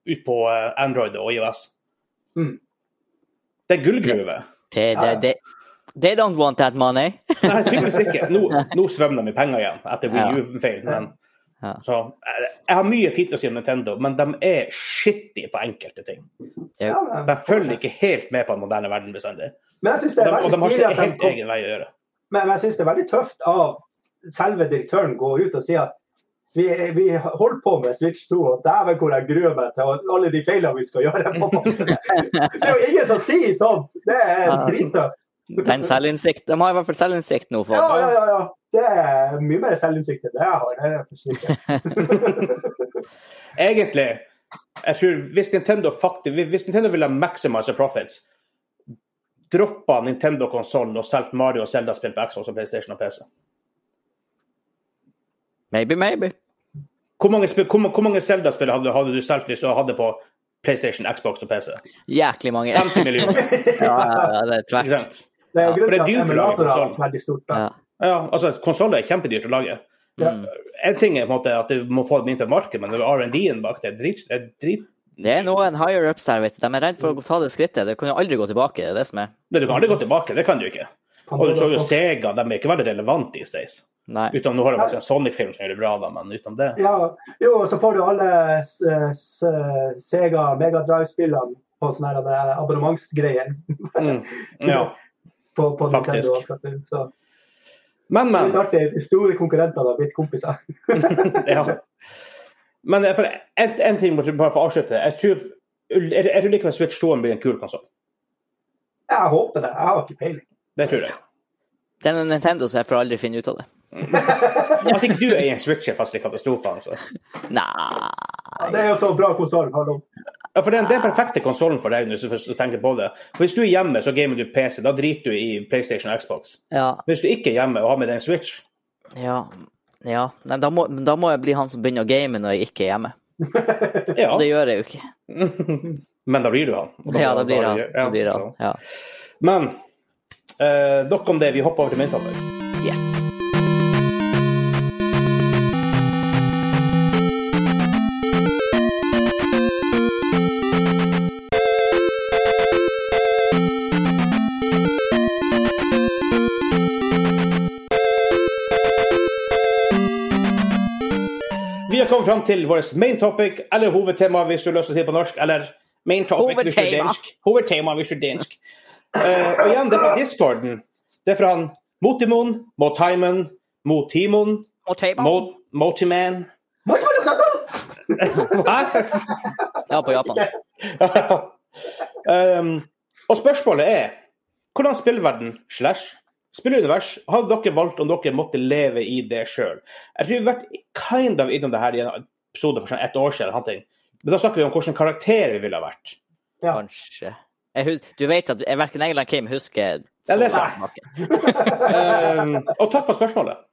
ut på eh, Android og iOS?
Mm.
Det er gullgruve.
Det, det, det, they don't want that money.
Nei, tydeligvis ikke. Nå, nå svømmer de i penger igjen etter
Ja.
Wii U-feil. Men
Ja.
så, eh, jeg har mye fint å si om Nintendo, men de er shitty på enkelte ting.
Ja, men-
De følger ikke helt med på den moderne verden bestandig.
Men jeg syns
Og
det er
de, og de
veldig
har ikke
stilig at de
helt
kom-
egen vei å gjøre.
Men men jeg syns det er veldig tøft av selve direktøren å gå ut og si at vi, vi holder på med Switch 2, og dæven hvor jeg gruer meg til alle de feilene vi skal gjøre. på (laughs) Det er jo ingen som sier sånn! Det er drittøft.
Den selvinnsikt, de har i hvert fall selvinnsikt nå. For.
Ja, ja, ja, ja. Det er mye mer selvinnsikt enn det jeg har. Det er for sikkert.
Egentlig, jeg tror hvis Nintendo faktisk, hvis Nintendo ville maximize profits, droppa Nintendo-konsollen og solgt Mario og Zelda-spill på Xbox og PlayStation og PC.
Maybe, maybe.
Hvor mange, spill- hvor, ma- hvor mange Zelda-spill hadde, hadde du solgt hvis du hadde på PlayStation, Xbox og PC?
Jæklig mange. Ja,
50 millioner,
ja, (laughs) ja, det er
ikke
tvert.
sant?
Det er jo
Ja,
for det
grunnen
er dyrt
til
å
at
lage
emulatorer har
konsoll.
vært veldig stort. Da.
Ja.
Ja, altså, konsoller er kjempedyrt å lage.
Mm.
En ting er på en måte at du må få dem inn på markedet, men R&D-en bak det er drit... Det er drit
Det er noen higher ups der, vet du. De er redd for å ta det skrittet. Det kan jo aldri gå tilbake. Det er det som er.
Nei, du kan aldri gå tilbake, det kan du ikke. Og du så jo Sega, de er ikke veldig relevante these days.
Nei.
Utenom nå har det faktisk en Sonic-film som gjør det bra, da, men utenom det
Ja, jo, og så får du alle s- s- eh, Sega Mega Drive-spillene på sånne her, eh, abonnementsgreier.
Mm. Ja.
På, på
Faktisk.
Nintendo akkurat nå. Så
Men,
det
men.
er litt artig. De store konkurrentene har blitt kompiser. (laughs)
ja. Men eh, for en, en ting må jeg bare få avslutte. Jeg tror, jeg, jeg tror likevel Switch 2 blir en kul konsoll.
Jeg håper det. Jeg har ikke peiling.
Det tror jeg.
Det er noe Nintendo, så jeg får aldri finne ut av det.
At ikke du eier en Switch er faktisk en katastrofe. altså.
Ja,
Nei
det er jo så bra konsoll. Hallo.
Ja, for Det er den perfekte konsollen for deg hvis du først tenker på det. For Hvis du er hjemme, så gamer du PC. Da driter du i PlayStation og Xbox.
Ja.
Men hvis du ikke er hjemme og har med deg en Switch
ja. ja. Nei, da, må, da må jeg bli han som begynner å game når jeg ikke er hjemme.
Ja,
Og det gjør jeg jo ikke.
men da blir du han. Og
Ja, da blir
da-
det han. Da
ja,
blir det
så.
han. Ja.
Men eh, nok om det. Vi hopper over til min topic.
Yes.
Vi har kommet fram til vårt main topic, eller hovedtema hvis du har lyst til å si det på norsk. Eller main topic hvis du er
Hovedtema.
dansk. Hovedtema hvis du er dansk. Eh, og igjen, det er fra discorden. Det er fra han Motimon, Motimen, Motimon,
Og teipa.
Mo- Motiman
Hva er det du snakker om?
(laughs) Hæ?
Ja, på (laughs) Japan.
(laughs) um, og spørsmålet er hvordan spillverden slash spillunivers hadde dere valgt om dere måtte leve i det sjøl? Jeg tror vi har vært kind of innom det her i en episode for sånn et år siden. eller noe. Men da snakker vi om hvilken karakter vi ville ha vært.
Kanskje. Jeg, hus- du vet at jeg- verken jeg eller Kim husker
Ja, det er
så
sant.
mye.
Um, og takk for spørsmålet.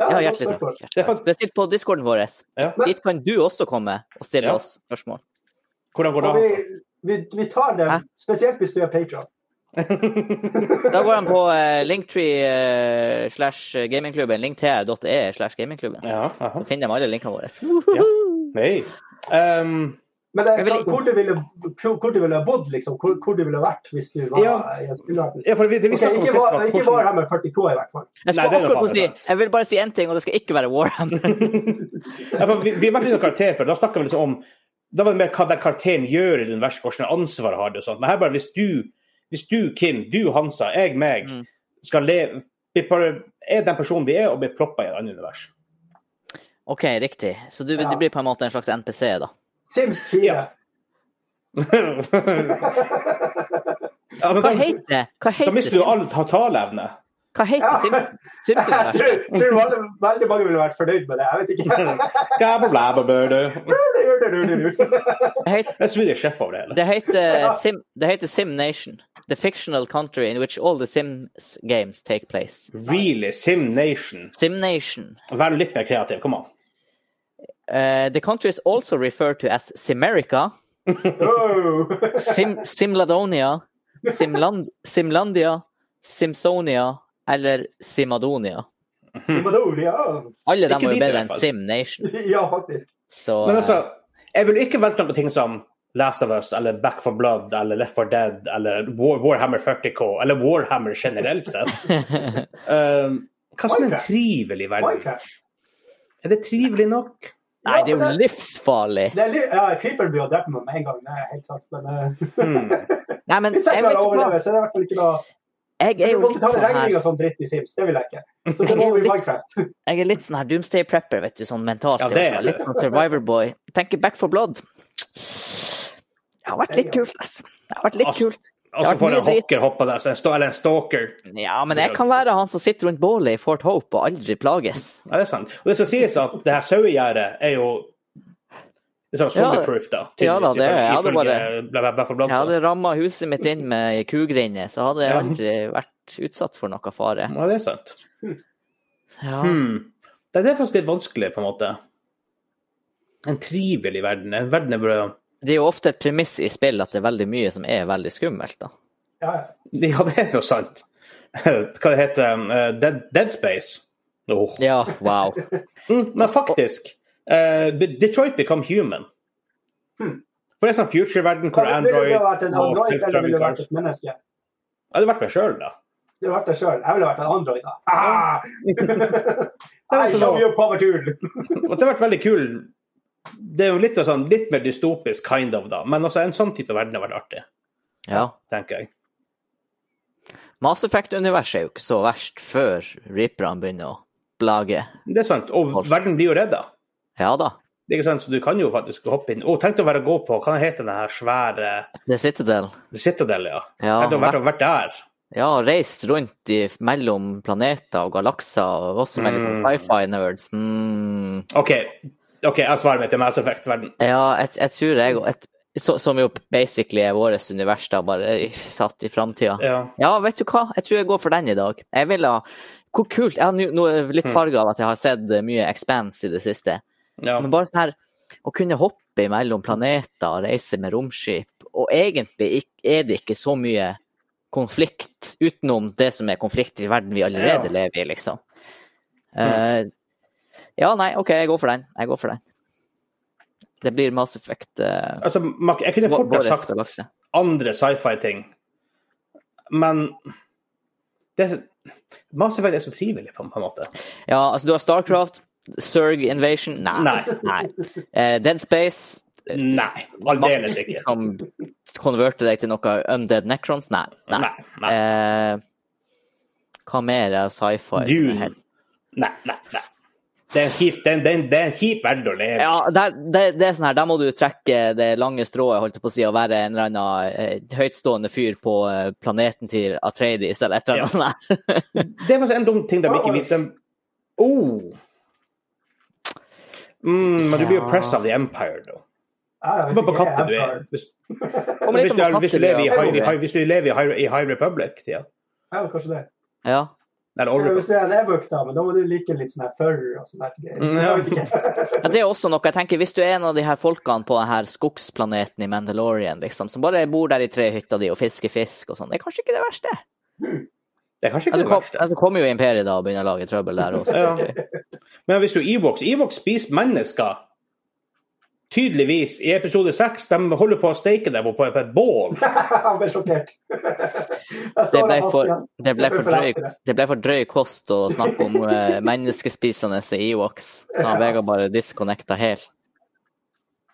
Ja,
det er et
hjertelig
godt spørsmål.
takk.
Det er faktisk-
Bestilt på discorden vår.
Ja.
Dit kan du også komme og stille
Ja.
oss spørsmål.
Hvordan går det
Og vi,
an?
vi, vi tar det,
Hæ?
spesielt hvis du er patron.
Da går han på eh, linktree eh, slash gamingklubben, linktr.e slash gamingklubben.
Ja, aha.
Så finner de alle linkene våre.
Nei. Um,
Men det,
Jeg vil ikke-
hvor, du ville, hvor du ville ha bodd, liksom. Hvor, hvor du ville ha vært hvis du var
Ja.
i en spillerverden.
ja, for vi, det vi
Ok,
snakket om
ikke
sist,
var,
var
ikke
hvordan-
var her med 40K, i hvert fall.
Jeg,
Nei,
skal
det er
akkurat
faen
si,
meg sant.
jeg vil bare si én ting, og det skal ikke være
(laughs)
Warhammer.
ja, for vi, vi har vært innom karakter før. Da snakka vi liksom om da var det mer hva den karakteren gjør i det universet, hvordan ansvar har det og sånt. Men her bare hvis du, hvis du Kim, du Hansa, jeg, meg,
Mm.
skal leve vi bare er den personen vi er, og blir proppa i et annet univers. (laughs)
OK, riktig. Så du,
Ja.
du blir på en måte en slags NPC, da.
Sims 4.
Ja.
(laughs)
ja, men
Hva
da,
heter det? Hva
da
heter
mister du
Sims?
all ta- taleevne.
Hva heter
Ja.
Sims?
Jeg
Sims-universet?
tror, tror veldig, veldig mange ville vært fornøyd med det.
(laughs)
Jeg vet ikke.
Skabablababu.
Det heter-
Det er Swedish Chef over det hele.
Det heter, Sim, det heter Sim Nation. The fictional country in which all the Sims games take place.
Really? Sim Nation.
Sim Nation.
Vær litt mer kreativ, kom an.
Uh, the country is also referred to as Simerica,
Oh.
Sim, Simladonia, Simland, Simlandia, Simsonia eller Simadonia.
Simadoria.
Alle
Ikke
dem er
dit
jo
i
bedre
hvert
enn
fall.
Sim Nation.
Ja, faktisk.
Så
Men
eh,
altså, jeg vil ikke velge noen ting som Last of Us eller Back for Blood eller Left for Dead eller War, Warhammer 40K eller Warhammer generelt sett.
(laughs)
Um, hva som er en
Minecraft.
trivelig verden?
Minecraft.
Er det trivelig nok?
(laughs)
Nei, det er jo livsfarlig!
Det er litt, ja, Creeper blir jo drept med meg en gang, det er helt sant. Men eh,
Hmm.
Nei, men
(laughs) hvis
jeg,
jeg
vet
klarer å
ikke hva,
overleve, så er det i hvert fall ikke noe
jeg er
Du
jo
må
litt
betale
sånn her
regninger og sånn dritt i Sims, det vil jeg ikke. Så
Jeg
det
(laughs) er
må
jo
vi i
litt-
Minecraft. (laughs)
Jeg er litt sånn her doomsday prepper, vet du, sånn mentalt.
Ja,
i
det er
hvert fall.
det.
Litt sånn survivor boy. Tenker back for blood. Det har vært litt kult, ass. Det har vært litt
Altså-
kult.
Og så
Det har vært
får
mye
en
dritt.
hocker hoppe der, så en sta- eller en stalker.
Ja, men jeg kan være han som sitter rundt bålet i Fort Hope og aldri plages.
Ja, det er sant. Og det skal sies at det her sauegjerdet er jo det er sånn zombieproof, da.
Ja da, det er- jeg hadde
ifølge Bla- Back 4 Blood.
Jeg
så.
hadde ramma huset mitt inn med kugrinner, så hadde jeg
Ja.
aldri vært utsatt for noe fare.
Ja, det er sant.
Ja.
Hmm. Det er faktisk litt vanskelig, på en måte. En trivelig verden. En verden er bare
Det er jo ofte et premiss i spill at det er veldig mye som er veldig skummelt, da.
Ja,
Ja, det er noe sant. (laughs) Hva det heter um, eh, Dead, Dead Space. Åh.
Ja, wow.
Mm, men faktisk eh, Be- Detroit Become Human.
Hmm.
For det er sånn future-verden hvor
Ja, men ville
Android
du vært en
og
android, eller ville
self-driving
du vært
cars
et menneske?
Jeg hadde vært meg sjøl, da.
Du ville vært deg sjøl. Jeg ville vært en android, da. Ah!
(laughs)
I
altså
show
noe-
you
(laughs)
poverty.
Og det har vært veldig kul Det er jo litt, sånn, litt mer dystopisk, kind of, da. Men altså, en sånn type verden har vært artig,
Ja.
tenker jeg.
Mass Effect-universet er jo ikke så verst før Reaperne begynner å blage.
Det er sant. Og verden blir jo redda.
Ja da.
Det er ikke sant, så du kan jo faktisk hoppe inn. Å, tenk deg å være gå på Hva heter den her svære
The Citadel.
Citadel, ja.
Ja,
Tenk deg å være- vært der.
Ja, reist rundt i, mellom planeter og galakser, og oss som er litt sånn
Mm.
sci-fi-nerds. Mm.
OK, ok, jeg svarer meg til Mass Effect-verden.
Ja, jeg, jeg tror jeg et, så, Som jo basically er vårt univers, da, bare i- satt i framtida.
Ja.
Ja, vet du hva? Jeg tror jeg går for den i dag. Jeg vil ha Hvor kult Jeg har nå- nå er jeg litt farga av at jeg har sett eh, mye Expanse i det siste.
ja.
Men bare sånn her Å kunne hoppe mellom planeter og reise med romskip, og egentlig ikk- er det ikke så mye konflikt utenom det som er konflikt i verden vi allerede
Ja. Mm.
lever i, liksom. Eh, ja, nei, OK, jeg går for den. Jeg går for den. Det blir Mass Effect. eh,
Altså, Mac- jeg kunne
Vår-
fort ha
vår
sagt
galakse.
andre sci-fi-ting, men det er så, Mass Effect er så trivelig, på en på en måte.
Ja, altså du har Starcraft, Zerg Invasion Nei.
Nei.
nei. Eh, Dead Space
Nei, aldeles
Masse
ikke.
Som konverter deg til noe Undead Necrons? Nei. nei.
Nei. Nei.
Eh, hva mer er sci-fi? som er
Dune.
helt-
Nei, nei, nei. Det er en kjip, det er en, det er en, det er en kjip verden å leve i.
Ja, der, det, det er sånn her, der må du trekke det lange strået holdt jeg på å si, og være en eller annen eh, høytstående fyr på eh, planeten til Atreides eller et eller annet sånt. der.
Det er faktisk en dum ting de ikke vet. De... Oh. Mm, men du blir jo
Ja.
pressa av The Empire, da.
Ja, hvis
Kommer på
ikke
katter du er.
Empire.
Hvis,
Kommer litt
hvis,
an
du,
på
er- hvis du lever i
kategorier.
High, i high, hvis du lever i high, i high Republic-tida.
Ja, kanskje det.
Ja.
Eller Old
Ja,
Republic.
Hvis du er en e-book, da, men da må du like litt sånn her furry og sånn her
Mm,
greier.
ja.
Jeg vet ikke. (laughs)
Ja, det er også noe jeg tenker, Hvis du er en av de her folkene på denne skogsplaneten i Mandalorian, liksom, som bare bor der i trehytta di og fisker fisk og sånn, det er kanskje ikke det verste.
Det er kanskje ikke
Altså,
det
kom,
verste.
altså kommer jo Imperiet da og begynner å lage trøbbel der også. selvfølgelig.
Men hvis du Evox Evox spiser mennesker. Tydeligvis, i episode seks, de holder på å steike dem på, på et bål.
Han ble
(laughs)
sjokkert. Jeg
Det
står
ble
av
for,
masken.
det ble for, drøy,
Jeg
det ble for drøy kost å snakke
(laughs)
om eh, menneskespisende Ewoks. Så har Vegard bare disconnecta helt.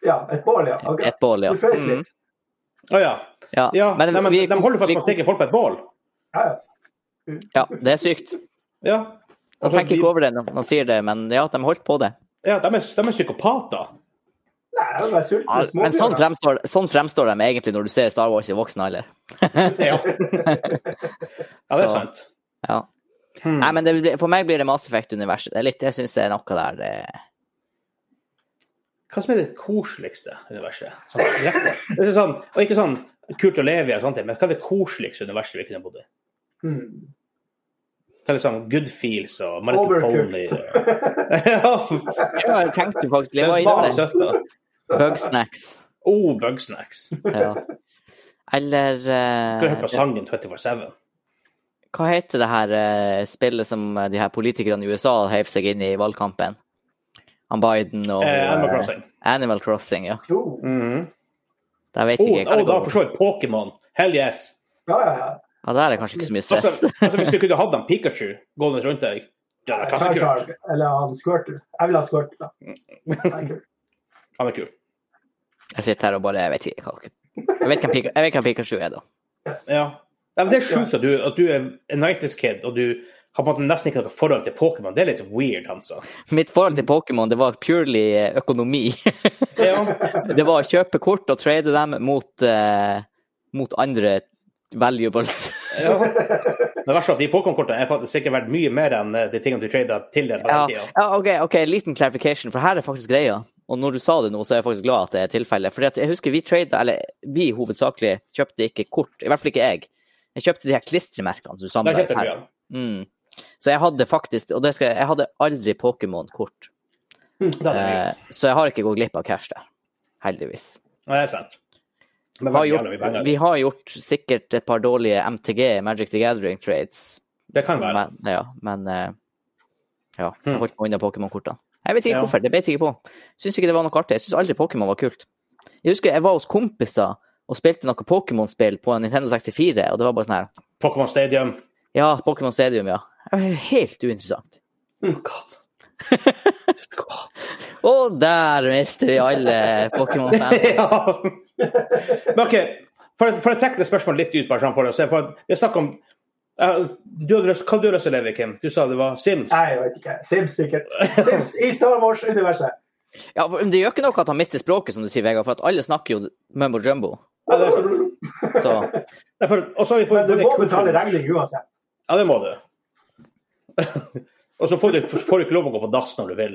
Ja, et bål, ja. Ok.
Et bål, ja.
Du frøs
Mm,
litt.
Å ja.
ja.
ja.
Men
Nei, men,
vi-
de holder fast på å
vi-
steke folk på et bål.
Ja, ja.
Ja, det er sykt.
Ja.
Man
Altså,
tenker
de-
ikke over det når man sier det, men ja, de holdt på det.
Ja, de er, de er psykopater.
Nei, jeg ble
Ja,
sulten.
Men sånn
smådyr, da.
fremstår, sånn fremstår de egentlig når du ser Star Wars i voksen alder.
Ja. ja, det er
Så.
sant.
(laughs) Ja.
Hmm.
Nei, men det, blir- for meg blir det Mass Effect-universet. Det er litt, jeg syns det er noe der det
Hva som er det koseligste universet? Sånn, direkte. det er sånn, og ikke sånn kult å leve i, og sånt, men hva er det koseligste universet vi kunne bodd i?
Hmm.
Det er liksom Good Feels og My Little Pony.
Overcooked.
Ja,
(laughs) Ja, jeg tenkte faktisk jeg var
det var
inne der.
søtt, da.
Bugsnacks.
Oh, Bugsnacks.
Ja. Eller
Skal du høre på
eh,
sangen 24-7?
Hva heter det her eh, spillet som eh, de her politikerne i USA heiv seg inn i i valgkampen? Han Biden og
Eh, Animal
eh,
Crossing.
Animal Crossing, ja.
Jo.
Mhm.
Der vet
Oh,
Mm-hmm. jeg ikke. hva
oh, da
det
for
går over.
så vidt Pokémon. Hell yes.
Ja, ja, ja.
Ja, der er kanskje ikke så mye
Altså,
stress.
altså, hvis du kunne hatt en Pikachu gående rundt deg ja, det er
Char-Char,
kaffekult.
eller han Squirtle. Jeg vil ha
(laughs)
Squirtle, da. Det er kult.
Han er kul.
Jeg sitter her og bare Jeg vet ikke hva Jeg vet hvem Pika- jeg vet hvem Pikachu er, da.
Yes.
Ja. Nei, men det er sjukt at du, at du er en 90's kid og du har på en måte nesten ikke noe forhold til Pokémon. Det er litt weird, altså.
Mitt forhold til Pokémon, det var purely eh, økonomi. (laughs)
Ja.
(laughs)
Det var å kjøpe kort og trade dem mot, eh, mot andre
(laughs)
valuables.
Ja. Det verste er at de Pokémon-kortene er faktisk sikkert verdt mye mer enn eh, de tingene du trada til det på
ja,
den tida.
ja, OK, ok, liten clarification, for her er faktisk greia. Og når du sa det nå, så er jeg faktisk glad at det er tilfellet. Fordi at jeg husker vi trada, eller vi hovedsakelig kjøpte ikke kort, i hvert fall ikke jeg. Jeg kjøpte de her klistremerkene som
Da
samla i
kjøpte du
perm.
den.
Mm. Så jeg hadde faktisk, og det skal jeg, jeg hadde aldri Pokémon-kort.
Da er det mye.
Eh, så jeg har ikke gått glipp av cash der, heldigvis.
Nei, det er sant. Men
har
veldig jævla mye
gjort,
penger.
vi har gjort sikkert et par dårlige MTG, Magic the Gathering-trades.
Det kan være.
Men, ja, men eh, ja, jeg
Hmm.
holdt meg unna Pokémon-kortene. Jeg vet ikke
Ja.
hvorfor. Det beit ikke på. Syns ikke det var noe artig. Jeg syns aldri Pokémon var kult. Jeg husker jeg var hos kompiser og spilte noe Pokémon-spill på en Nintendo 64, og det var bare sånn her
Pokémon Stadium.
Ja, Pokémon Stadium, ja. Det var Helt uinteressant.
Oh,
(laughs)
God.
Og der mister vi alle
(laughs)
Pokémon-fans.
ja. Men OK, for, å- for å trekke det spørsmålet litt ut, bare sånn for å se for at Vi snakker om eh, du hadde lyst, Hva hadde du lyst til å leve i, Kim? Du sa det var Sims.
(laughs) Nei, jeg vet ikke. Sims, sikkert. Sims i Star Wars-universet.
Ja, for det gjør ikke noe at han mister språket, som du sier, Vegard, for at alle snakker jo mumbo jumbo.
Ja, det er sant.
Så
Derfor, og så har vi fått
Altså, Men du
både
må
kursen-
betale regning uansett. (laughs)
Ja, det må du. og så får du, (laughs) får du ikke lov å gå på dass når du vil.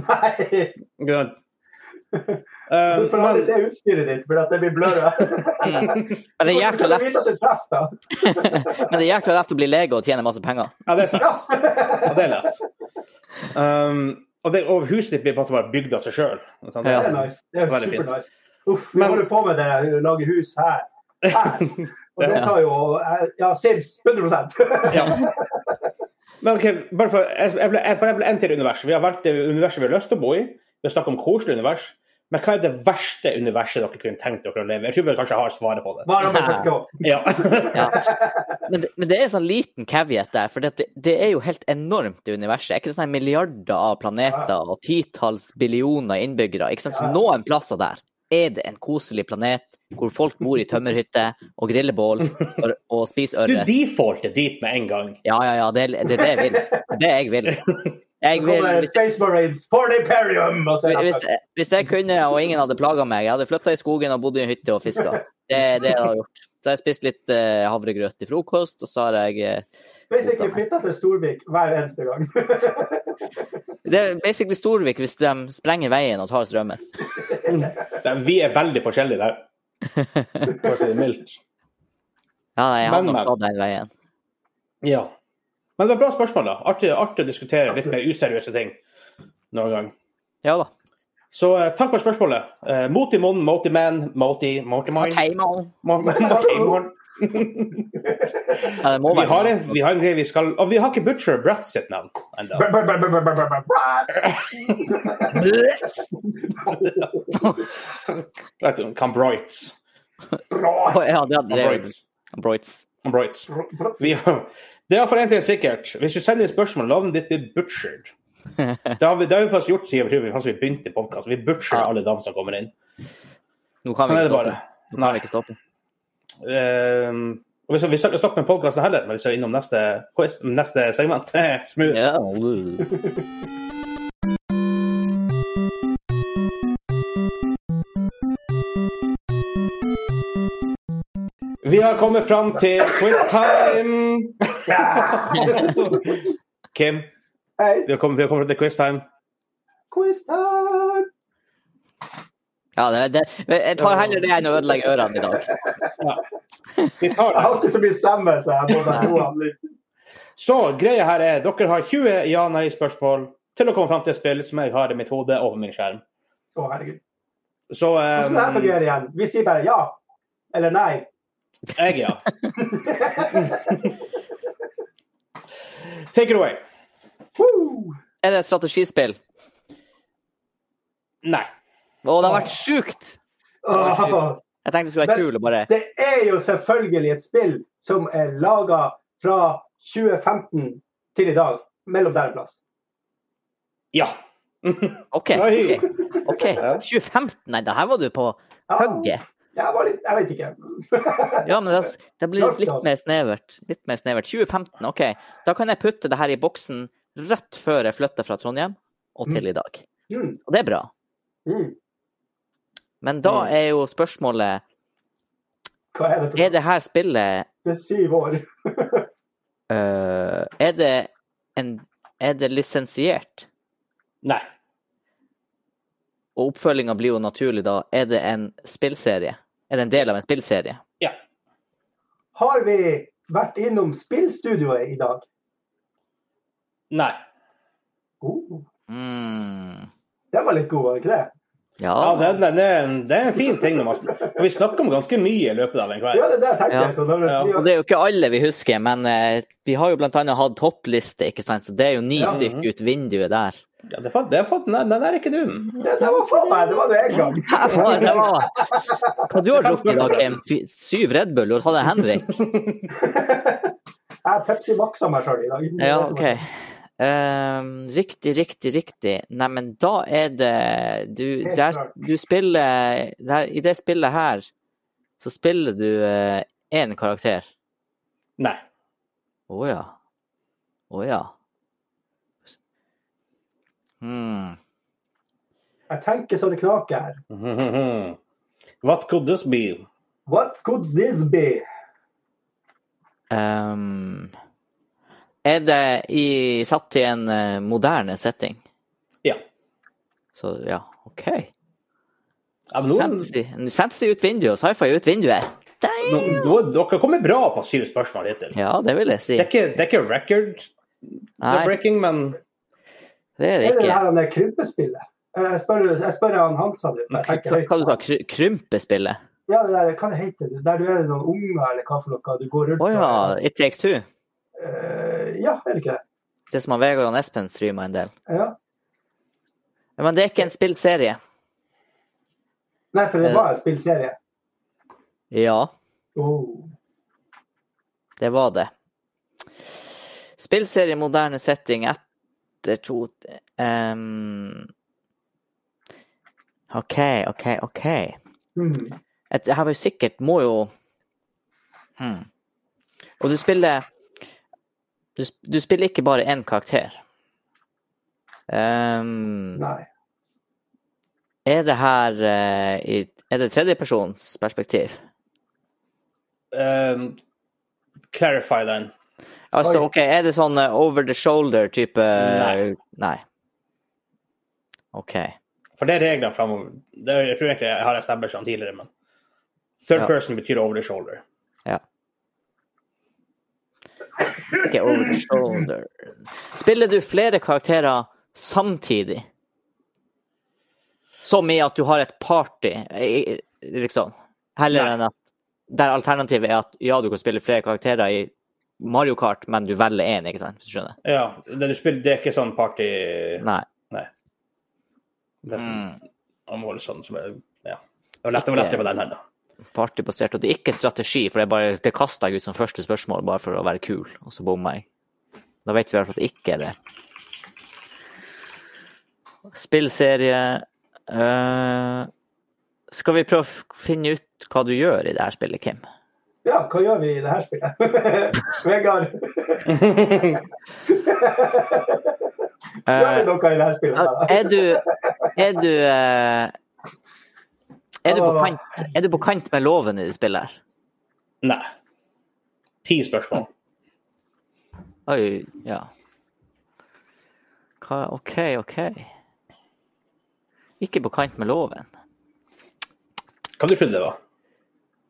Nei!
Ikke sant?
(laughs) Du
Eh,
får
men,
aldri se utstyret ditt, for at det blir blurra.
Men (laughs) det er jækla
Du
lett, (laughs)
vise at du treffer, da.
men det er jækla lett å bli lege og tjene masse penger.
ja, det er sant.
Ja.
Ja, det er lett. Um, og, det, og huset ditt blir på en måte bare bygd av seg sjøl.
Det
Ja.
er nice. Det er
Veldig fint.
supernice. Uff, vi
Men-
holder på med det, lage hus her.
(laughs)
her. Og det
Ja.
tar jo eh, Ja, Sims 100
Ja. Men ok, bare for, jeg, jeg vil- jeg, for jeg vil en til univers. Vi har valgt det universet vi har lyst til å bo i. Vi har snakket om koselig univers. Men hva er det verste universet dere kunne tenkt dere å leve i? Jeg tror vi kanskje har svaret på det.
(laughs) Bare om jeg får gå.
Ja.
Ja.
(laughs)
Men, det- men det er en sånn liten caveat der, for det, det er jo helt enormt det universet. Er ikke det sånn her milliarder av planeter og titalls billioner innbyggere? ikke sant? Så
Ja.
noen plasser der er det en koselig planet hvor folk bor i tømmerhytter og griller bål og, og
(laughs)
spiser
Du
ørret.
defaulter dit med en gang.
Ja, ja, ja. Det er det, er det jeg vil. Det er det jeg vil. Jeg
Så
vil
kommer
hvis,
Space Marines for the Imperium! Og så er
hvis,
det
hvis jeg kunne og ingen hadde plaga meg, jeg hadde flytta i skogen og bodd i en hytte og fiska. Det er det jeg har gjort. Så har jeg spist litt eh, havregrøt til frokost, og så har jeg eh,
basically flytta til Storvik hver eneste gang. (laughs)
Det er basically Storvik hvis de sprenger veien og tar strømmen.
Det- Vi er veldig forskjellige der, for å si det mildt.
Ja, nei, jeg hadde
Men, men.
nok tatt den veien.
Ja. Men det var bra spørsmål, da. Artig, artig å diskutere litt mer useriøse ting noen gang.
Ja da.
Så eh, takk for spørsmålet. Eh, mot i munnen, mot i man, mot i mot i mind.
Teimalen.
Mot- mot i munnen.
Ja, det må
Vi
være
har,
det.
en, vi har en greie vi skal Og vi har ikke Butcher Bratt sitt navn ennå. Vet du, Cambroits.
(laughs) Å, ja, det hadde det.
Cambroits.
Broits.
Cambroits. Vi har, det er for en ting sikkert. Hvis du sender inn spørsmål, navnet ditt blir (laughs) butchered. Det har vi, det har vi faktisk gjort siden vi faktisk begynte podkasten. Vi butcherer alle navn som kommer inn.
Nå kan
Sånn
vi
er
ikke
det
stoppe.
bare.
Nå kan vi ikke stoppe.
Ehm, og vi skal, vi skal ikke snakke med podkasten heller, men vi skal innom neste, quiz, neste segment. (laughs) Smooth.
Ja.
Vi har kommet fram til quiztime! Kim,
(laughs) Hei,
vi har kommet, vi har kommet fram til quiztime.
quiz time!
ja det, det, jeg tar heller det enn å ødelegge ørene i dag.
Vi tar
Jeg
det.
har ikke så mye stemme, så jeg må bare roe av litt.
Så greia her er dere har 20 ja-nei-spørsmål til å komme fram til et spill som jeg har i mitt hode og på min skjerm.
Å, herregud.
Så
Hvordan det her
ehm,
fungerer igjen? Vi sier bare ja eller (laughs) nei.
eh, jeg, ja. Take it away.
Woo!
Er det et strategispill?
Nei.
Å, det har vært sjukt!
Åh,
Jeg tenkte det skulle være
Men-
kul og bare
Det er jo selvfølgelig et spill som er laga fra 2015 til i dag. Mellom der en plass.
Ja.
OK.
Oi.
ok, ok. 2015? Nei, det her var du på
Ja,
hugget.
Jeg, var litt, jeg vet ikke. (laughs)
Ja, men det, det blir litt mer snevert. Litt mer snevert. 2015, OK. Da kan jeg putte det her i boksen rett før jeg flytter fra Trondheim og til i dag.
Mm,
Og det er bra.
mm.
Men da
Mm.
er jo spørsmålet
Hva er det for
Er det her spillet
Det er syv år.
øh, Er det en Er det lisensiert?
Nei.
Og oppfølginga blir jo naturlig da. Er det en spillserie? Er det en del av en spillserie?
Ja.
Har vi vært innom spillstudioet i dag?
Nei.
Oh,
Mm.
den var litt god, var det ikke det?
Ja.
Ja, det, det, det, er en- det er en fin ting. når man- For vi snakker om ganske mye i løpet av en
Ja,
kveld.
det der tenkte
Ja.
jeg. Så når,
Ja,
Og det er jo ikke alle vi husker, men eh, vi har jo bl.a. hatt toppliste, ikke sant? så det er jo ni
Ja.
stykk ut vinduet der.
Ja, det, er fa- det, er fa- den, den er ikke dum.
det, det var faen meg, det var det en gang.
Her var det var. Hva du har drukket i dag, Kim? Syv Red Bull? Du har tatt en Henrik?
Jeg Pepsi Maxa meg sjøl i dag.
(laughs)
Det
Ja,
var det som
OK.
var-
Ehm, riktig, riktig, riktig. Neimen, da er det Du,
Helt
der,
klart.
du spiller der, I det spillet her så spiller du én karakter.
Nei. (laughs)
Å ja. Å ja. Hmm.
Jeg tenker så det knaker her.
What could this be?
What could this be?
Ehm, er det i, satt i en eh, moderne setting?
Ja.
Så ja, OK.
ja men nå,
Fantasy, fantasy ut vinduet, sci-fi ut vinduet.
nå,
Damn!
nå, dere kommer bra på syv spørsmål hittil.
Ja, det vil jeg si.
Det er ikke, det er ikke record
Nei,
breaking, men
det er det
Er det det
ikke.
her han er krympespillet? Eh, Jeg spør, jeg spør han Hansa nå. for jeg tenker høyt.
Hva du sa du? Krympespillet?
Ja, det der, hva det heter det? Der du er noen unger, eller hva for noe? Du går rundt
Å ja.
og-
It Takes Two?
Eh, ja, er det ikke det?
Det som han Vegard og Espen streama en del.
Ja.
Men det er ikke en spilt serie.
Nei,
Eh.
for det var en spillserie.
Ja,
Oh.
det var det. Spillserie moderne setting etter to ehm, OK, OK, OK.
Hmm.
Et- Det her var jo sikkert Må jo hmm. Og du spiller du, sp- du spiller ikke bare én karakter. Ehm,
Nei.
er det her eh, i, Er det tredjepersons perspektiv?
ehm, clarify den.
Altså,
Oi.
OK, er det sånn eh, over the shoulder-type
Nei.
Nei. OK.
For det er reglene framover. Det er, jeg tror egentlig jeg har established den tidligere, men third
Ja.
person betyr over the shoulder.
Ikke over the shoulder. Spiller du flere karakterer samtidig? Som i at du har et party, eh, liksom? Heller
Nei.
enn at Der alternativet er at ja, du kan spille flere karakterer i Mario Kart, men du velger én, ikke sant? Hvis du skjønner?
Ja, det, du spiller, det er ikke sånn party
Nei.
Det er sånn,
Mm.
man må holde sånn som er, ja. Det var lett- det var lettere på den her, da.
Partybasert. Og det er ikke strategi, for det, er bare, det kasta jeg ut som første spørsmål bare for å være kul, og så bomma jeg. Da vet vi i hvert fall at det ikke er det. Spillserie eh, Skal vi prøve å f- finne ut hva du gjør i det her spillet, Kim?
Ja, hva gjør vi i det her spillet? (laughs) Vegard, (laughs) gjør vi
Eh,
noe i det her spillet? da?
er du Er du eh, er du, på kant, er du på kant med loven i det spillet? her?
Nei. Ti spørsmål.
Oi, ja. Hva, OK, OK. Ikke på kant med loven.
Hva du trodde det var?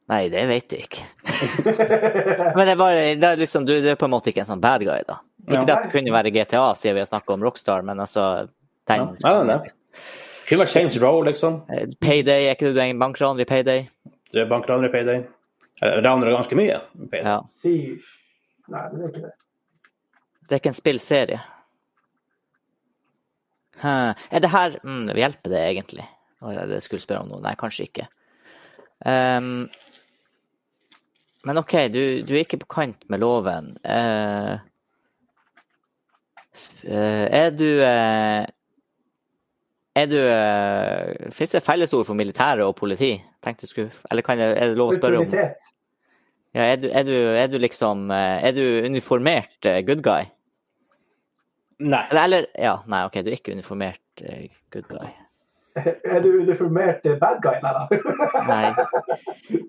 Nei, det vet jeg ikke. Men det er bare, det er liksom, du du er på en måte ikke en sånn bad guy, da. Ikke
Ja.
det at det kunne være GTA, siden vi har snakka om Rockstar, men altså den,
Ja, nei, nei, nei. Kunne vært Saints Row, liksom.
Eh, Payday, er ikke det du er en bankran i Payday?
Du er bankraner i payday. Eller, Raner ganske mye. i Payday.
(laughs)
Ja.
Siv. Nei, det er ikke det.
Det er ikke en spillserie. Hæ. Er det her mm, Hjelper det egentlig? Oi, nei, det skulle jeg spørre om noe. Nei, kanskje ikke. Ehm, men OK, du, du er ikke på kant med loven. Eh, sp- eh, er du eh, Er du uh, Fins det fellesord for militære og politi? Tenkte jeg skulle Eller kan jeg, er det lov å spørre om
Autoritet.
ja, er, du, er, du, er du liksom eh, Er du uniformert eh, good guy?
Nei.
Eller, eller Ja, nei, OK, du er ikke uniformert eh, good guy.
(laughs) Er du uniformert eh, bad guy? Nei, da. (laughs)
Nei.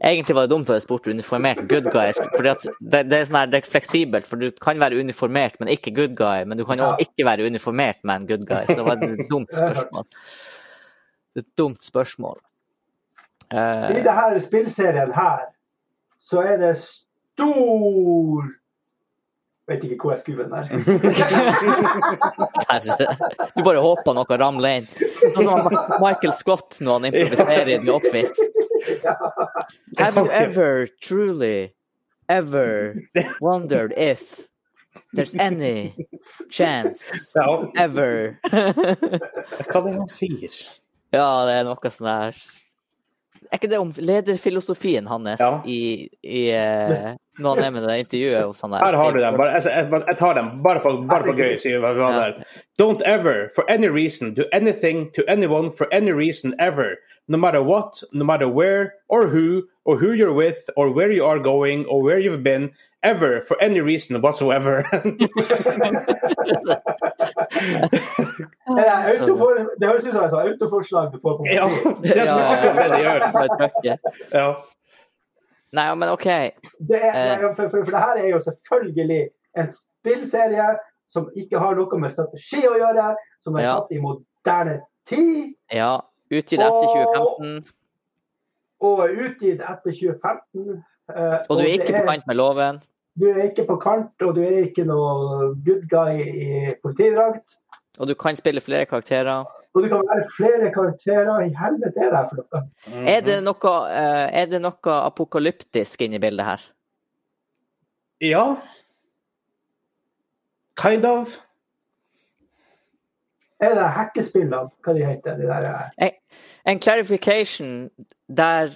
Egentlig var det dumt at jeg spurte uniformert good guy. Fordi at det, det, er sånn her, det er fleksibelt, for du kan være uniformert, men ikke good guy. Men du kan
Ja.
òg ikke være uniformert, men good guy. Så det var et dumt spørsmål. Det er Et dumt spørsmål. Eh,
I denne spillserien her, så er det stor Vet ikke hvor jeg skulle med den der.
(laughs) Herre. Du bare håper noe ramler inn. Sånn som han- Michael Scott når han improviserer i The Office. Have you ever truly ever wondered if there's any chance
Ja,
ever
hva er det han sier?
Ja, det er noe sånn her Er ikke det om lederfilosofien hans
Ja.
i, i eh, når han er med i det intervjuet hos han der?
Her har du den. Bare, altså, jeg, jeg tar den bare på, bare på gøy. Sier hva vi har der. Don't ever, for any reason, do anything to anyone for any reason ever. No matter what, no matter where or who, or who you're with, or where you are going, or where you've been, ever, for any reason whatsoever. (laughs)
Det, er autofor, det høres ut som et sånt autoforslag du får på
ja, det er akkurat det de gjør.
bare trøkke.
Ja.
Nei, men OK.
Det er,
Eh.
nei, for, for, for det her er jo selvfølgelig en spillserie som ikke har noe med strategi å gjøre, som er
Ja.
satt i moderne tid
Ja. Utgitt etter
Åh.
2015.
og er utgitt etter 2015. eh,
Og du er
det
ikke på kant med loven.
Du er ikke på kant, og du er ikke noe good guy i politidrakt.
Og du kan spille flere karakterer.
Og det kan være flere karakterer. I helvete er det her for noe?
Er
Mhm.
det noe, eh, er det noe apokalyptisk inni bildet her?
Ja. Kind of.
Er det hackespillene, hva de heter? De der, eh,
En, en clarification der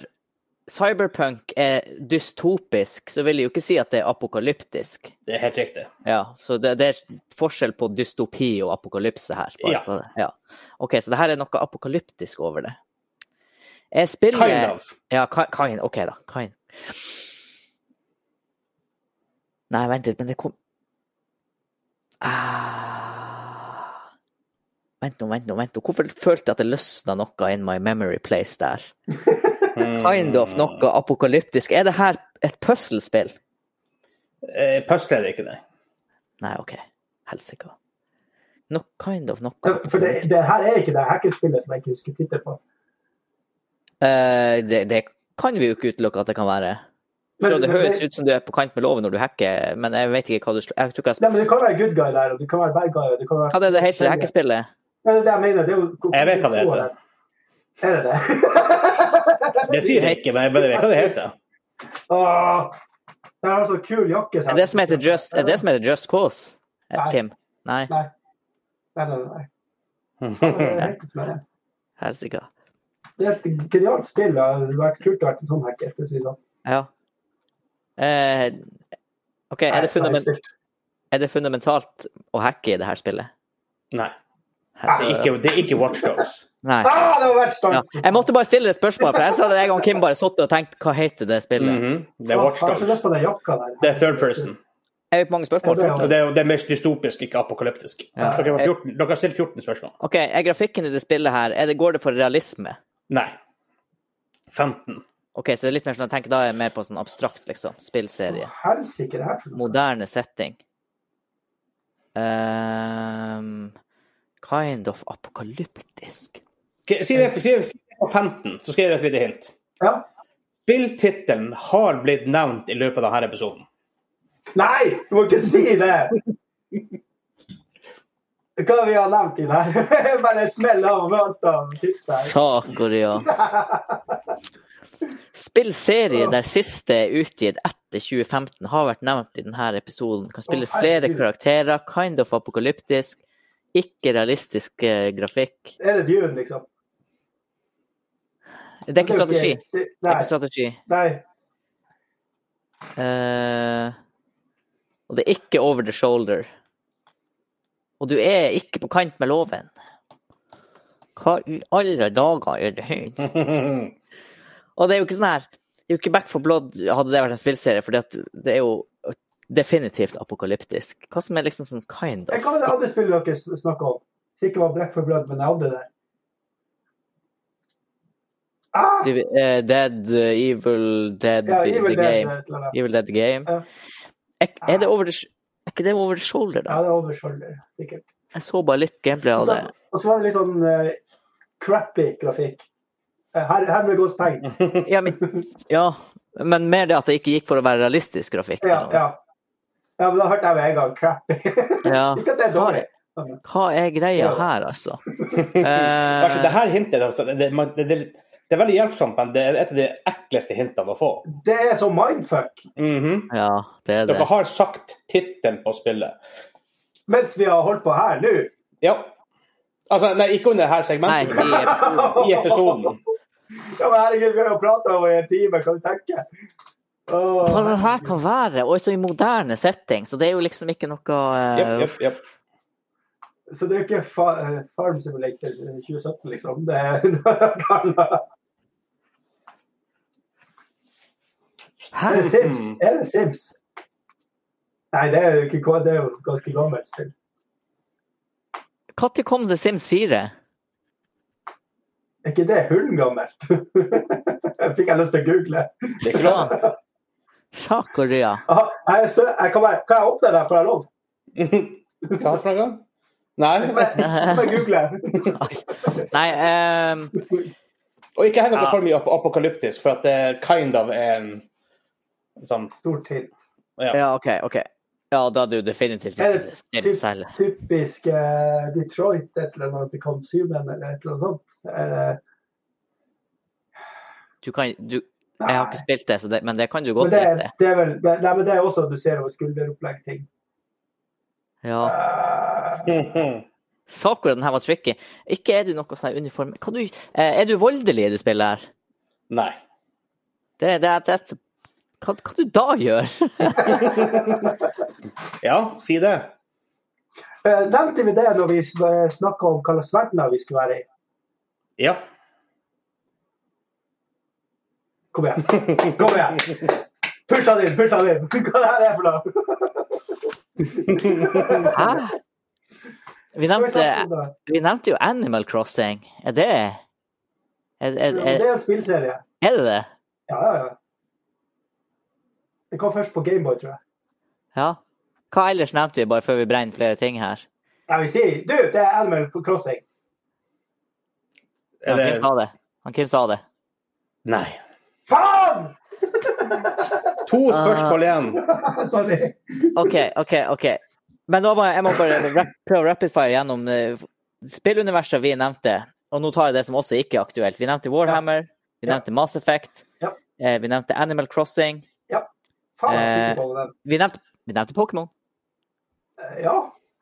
cyberpunk er dystopisk, så vil jeg jo ikke si at det er apokalyptisk.
Det er helt riktig.
Ja, så det, det er forskjell på dystopi og apokalypse her. bare
Ja.
så det- ja. OK, så det her er noe apokalyptisk over det. Jeg spiller
Kind
(laughs)
of.
Ja, ki- kind. OK, da. Kind. Nei, vent litt, men det kom ah. Vent nå, vent nå, vent nå. Hvorfor følte jeg at det løsna noe in my memory place der?
Mhm.
Kind
Mm.
of noe apokalyptisk. Er det her et puslespill?
Eh, Puzzle er det ikke, nei.
Nei, OK. Helsike. No, kind of noe.
For det, det her er ikke det hackespillet som jeg ikke husker tittelen på.
Eh, det, det kan vi jo ikke utelukke at det kan være.
Men-
Så det
men-
høres ut som du er på kant med loven når du hacker, men jeg vet ikke hva du sl- jeg tror ikke jeg
Nei, men Du kan være good guy der, og du kan være bad guy. og du kan være...
Hva er det det heter, det hackespillet?
Ja, det er det jeg mener. Det er jo...
Jeg vet hva det heter.
Er det (laughs) det?
Det sier jeg ikke, men jeg bare vet hva det heter. (laughs)
Åh, det er altså kul jakke. sa
Er det som heter Just, er det som heter just Cause? Eh,
Nei.
Kim? Nei,
Nei. Nei, nei, nei. Det er helt som er det.
helsike.
Det er et genialt spill. og Det hadde vært kult å være en sånn hacker. for å si det sånn.
Ja. Eh, OK, er det,
Nei,
fundament,
nei, stilt.
er det fundamentalt å hacke i det her spillet?
Nei. Det er
Helsike.
ikke, det er ikke Watch Dogs.
Nei.
Ah, det var verst
Ja.
dansen!
Jeg måtte bare stille et spørsmål, for ellers hadde jeg og Kim bare sittet og tenkt hva heter det
Mm.
spillet?
Mhm. Det er Watch
Jeg har så lyst
Dogs.
på den jakka der.
Det er third person.
Jeg fikk mange spørsmål.
Ja, det er-
Og det er, det er mer dystopisk, ikke apokalyptisk.
Ja.
Dere, var 14, dere har stilt 14 spørsmål.
OK, er grafikken i det spillet her, er det, går det for realisme?
Nei. 15.
OK, så det er litt mer sånn, jeg tenker da er jeg mer på sånn abstrakt, liksom. Spillserie.
Helsike, det her for noe.
Moderne setting. Ehm, kind of apokalyptisk.
Ok, Si det, si, si det på 15, så skal jeg gi dere et lite hint.
Ja.
Spilltittelen har blitt nevnt i løpet av denne episoden.
Nei, du må ikke si det! Hva vi har nevnt i der? (laughs) Bare smell av og alt av tittelen.
Sakoria. Spillserie der siste er utgitt etter 2015 har vært nevnt i denne episoden. Kan spille
Å,
flere
herregud.
karakterer. Kind of apokalyptisk. Ikke realistisk eh, grafikk.
Er det Dune, liksom?
Det er ikke strategi.
Det, det,
Det er
nei.
ikke strategi.
nei.
Eh, og det er ikke over the shoulder. Og du er ikke på kant med loven. Hva i alle dager er det her?
(laughs)
Og det er jo ikke sånn her Det er jo ikke Back for Blood hadde det vært en spillserie, for det er jo definitivt apokalyptisk. Hva som er liksom sånn kind
Jeg
of
kan det andre spillet dere snakka om. Som ikke var Black for Blood, men det andre der. Ah,
Div- eh, Dead, eh, Evil Dead,
ja,
the, the
Evil Dead.
Game.
et eller annet.
Evil Dead The Game.
Ja.
Er, er det over the, sh- er ikke det over the shoulder,
Ja,
da?
Altså, det er over shoulder, sikkert.
Jeg så bare litt gameplay av
Og så
det.
og så var det litt sånn eh, crappy grafikk. Eh, Her, her med gåstegn.
Ja, men, ja, men mer det at det ikke gikk for å være realistisk grafikk.
Ja,
eller noe.
ja. ja, men da hørte jeg med en gang crappy.
(laughs) Ja.
ikke at det er
Hva,
dårlig.
er, hva er greia
Ja.
her,
(laughs)
altså?
Altså, det
Eh,
her hintet altså, det, det, det, det er veldig hjelpsomt, men det er et av de ekleste hintene å få.
Det er så mindfuck.
Mhm.
Eh, ja, det er
Dere
det.
har sagt tittelen på spillet.
Mens vi har holdt på her nå.
Ja. Altså, nei, ikke under dette
Nei,
segmentet,
i episoden.
men i episoden.
Ja, men herregud, vi har jo prata over en time, kan du tenke? Åh,
Hva det her kan være? Og så i moderne setting, så det er jo liksom ikke noe
Jep,
eh,
jep, jep.
Så det er ikke fa eh, Farm Simulator 2017, liksom? Det er (laughs) noe annet.
Hæ?
Er det Sims?
Hmm.
Er det Sims? Nei, det er jo ikke hva- det er jo et ganske gammelt spill.
Når kom The Sims 4?
Er ikke det hundegammelt? Fikk (laughs) jeg lyst til å google.
Det er klart.
Sjakk og ria.
Aha, jeg, er sø jeg kan, bare, kan jeg åpne den, får jeg lov?
Mhm. Hva for noe? Nei.
Bare bare google. (laughs)
Nei, ehm,
Og ikke heng dere
Ja.
for mye ap apokalyptisk, for at det er kind of en sånn
Stort hint.
ja.
ja, OK. ok. Ja, da er du definitivt
Er
ikke
det
stilt selv.
typ- typisk eh, Detroit, et eller annet Become Human, eller et eller annet sånt? Eh,
Du kan, du,
nei.
jeg har ikke spilt det, så det, men det kan du
Men
godt
det,
gjette.
det er vel, det, nei, men det er også at du ser over skulderopplegg-ting.
Ja.
Eh,
Mhm.
Sakura, den her var tricky. Ikke er du noe sånn her uniform... Hva du, eh, er du voldelig i det spillet her?
Nei.
Det, det, det, det, hva, hva du da gjør?
Ja, si det.
eh, Nevnte vi det når vi eh, snakket om hva slags verdener vi skulle være i?
Ja.
Kom igjen.
(laughs)
Kom igjen. Push han inn, push han inn. Hva det her er for noe?
Hæ? (laughs) Vi
Hva vi
nevnte,
snakker om da?
vi nevnte jo Animal Crossing. Er det er, er,
Det
er,
er en spillserie.
er det det?
Ja, ja, ja. Det kom først på Gameboy, tror jeg.
Ja. Hva ellers nevnte vi, bare før vi brenner flere ting her?
Jeg vil si, du, det er Animal Crossing.
Ja,
Er det
Kim sa det. Han Kim sa det.
Nei.
Faen! (laughs)
To
Ah.
spørsmål igjen.
Sorry.
OK, OK. ok. Men da må jeg, jeg må
(laughs)
bare rap, prøve å rapidfire gjennom eh, spilluniverset vi nevnte. Og nå tar jeg det som også ikke er aktuelt. Vi nevnte Warhammer, vi
Ja.
nevnte Mass Effect,
Ja.
eh, vi nevnte Animal Crossing.
Faen, jeg
Eh.
er sikker på den.
Vi nevnte, vi nevnte Pokémon.
Eh, Ja,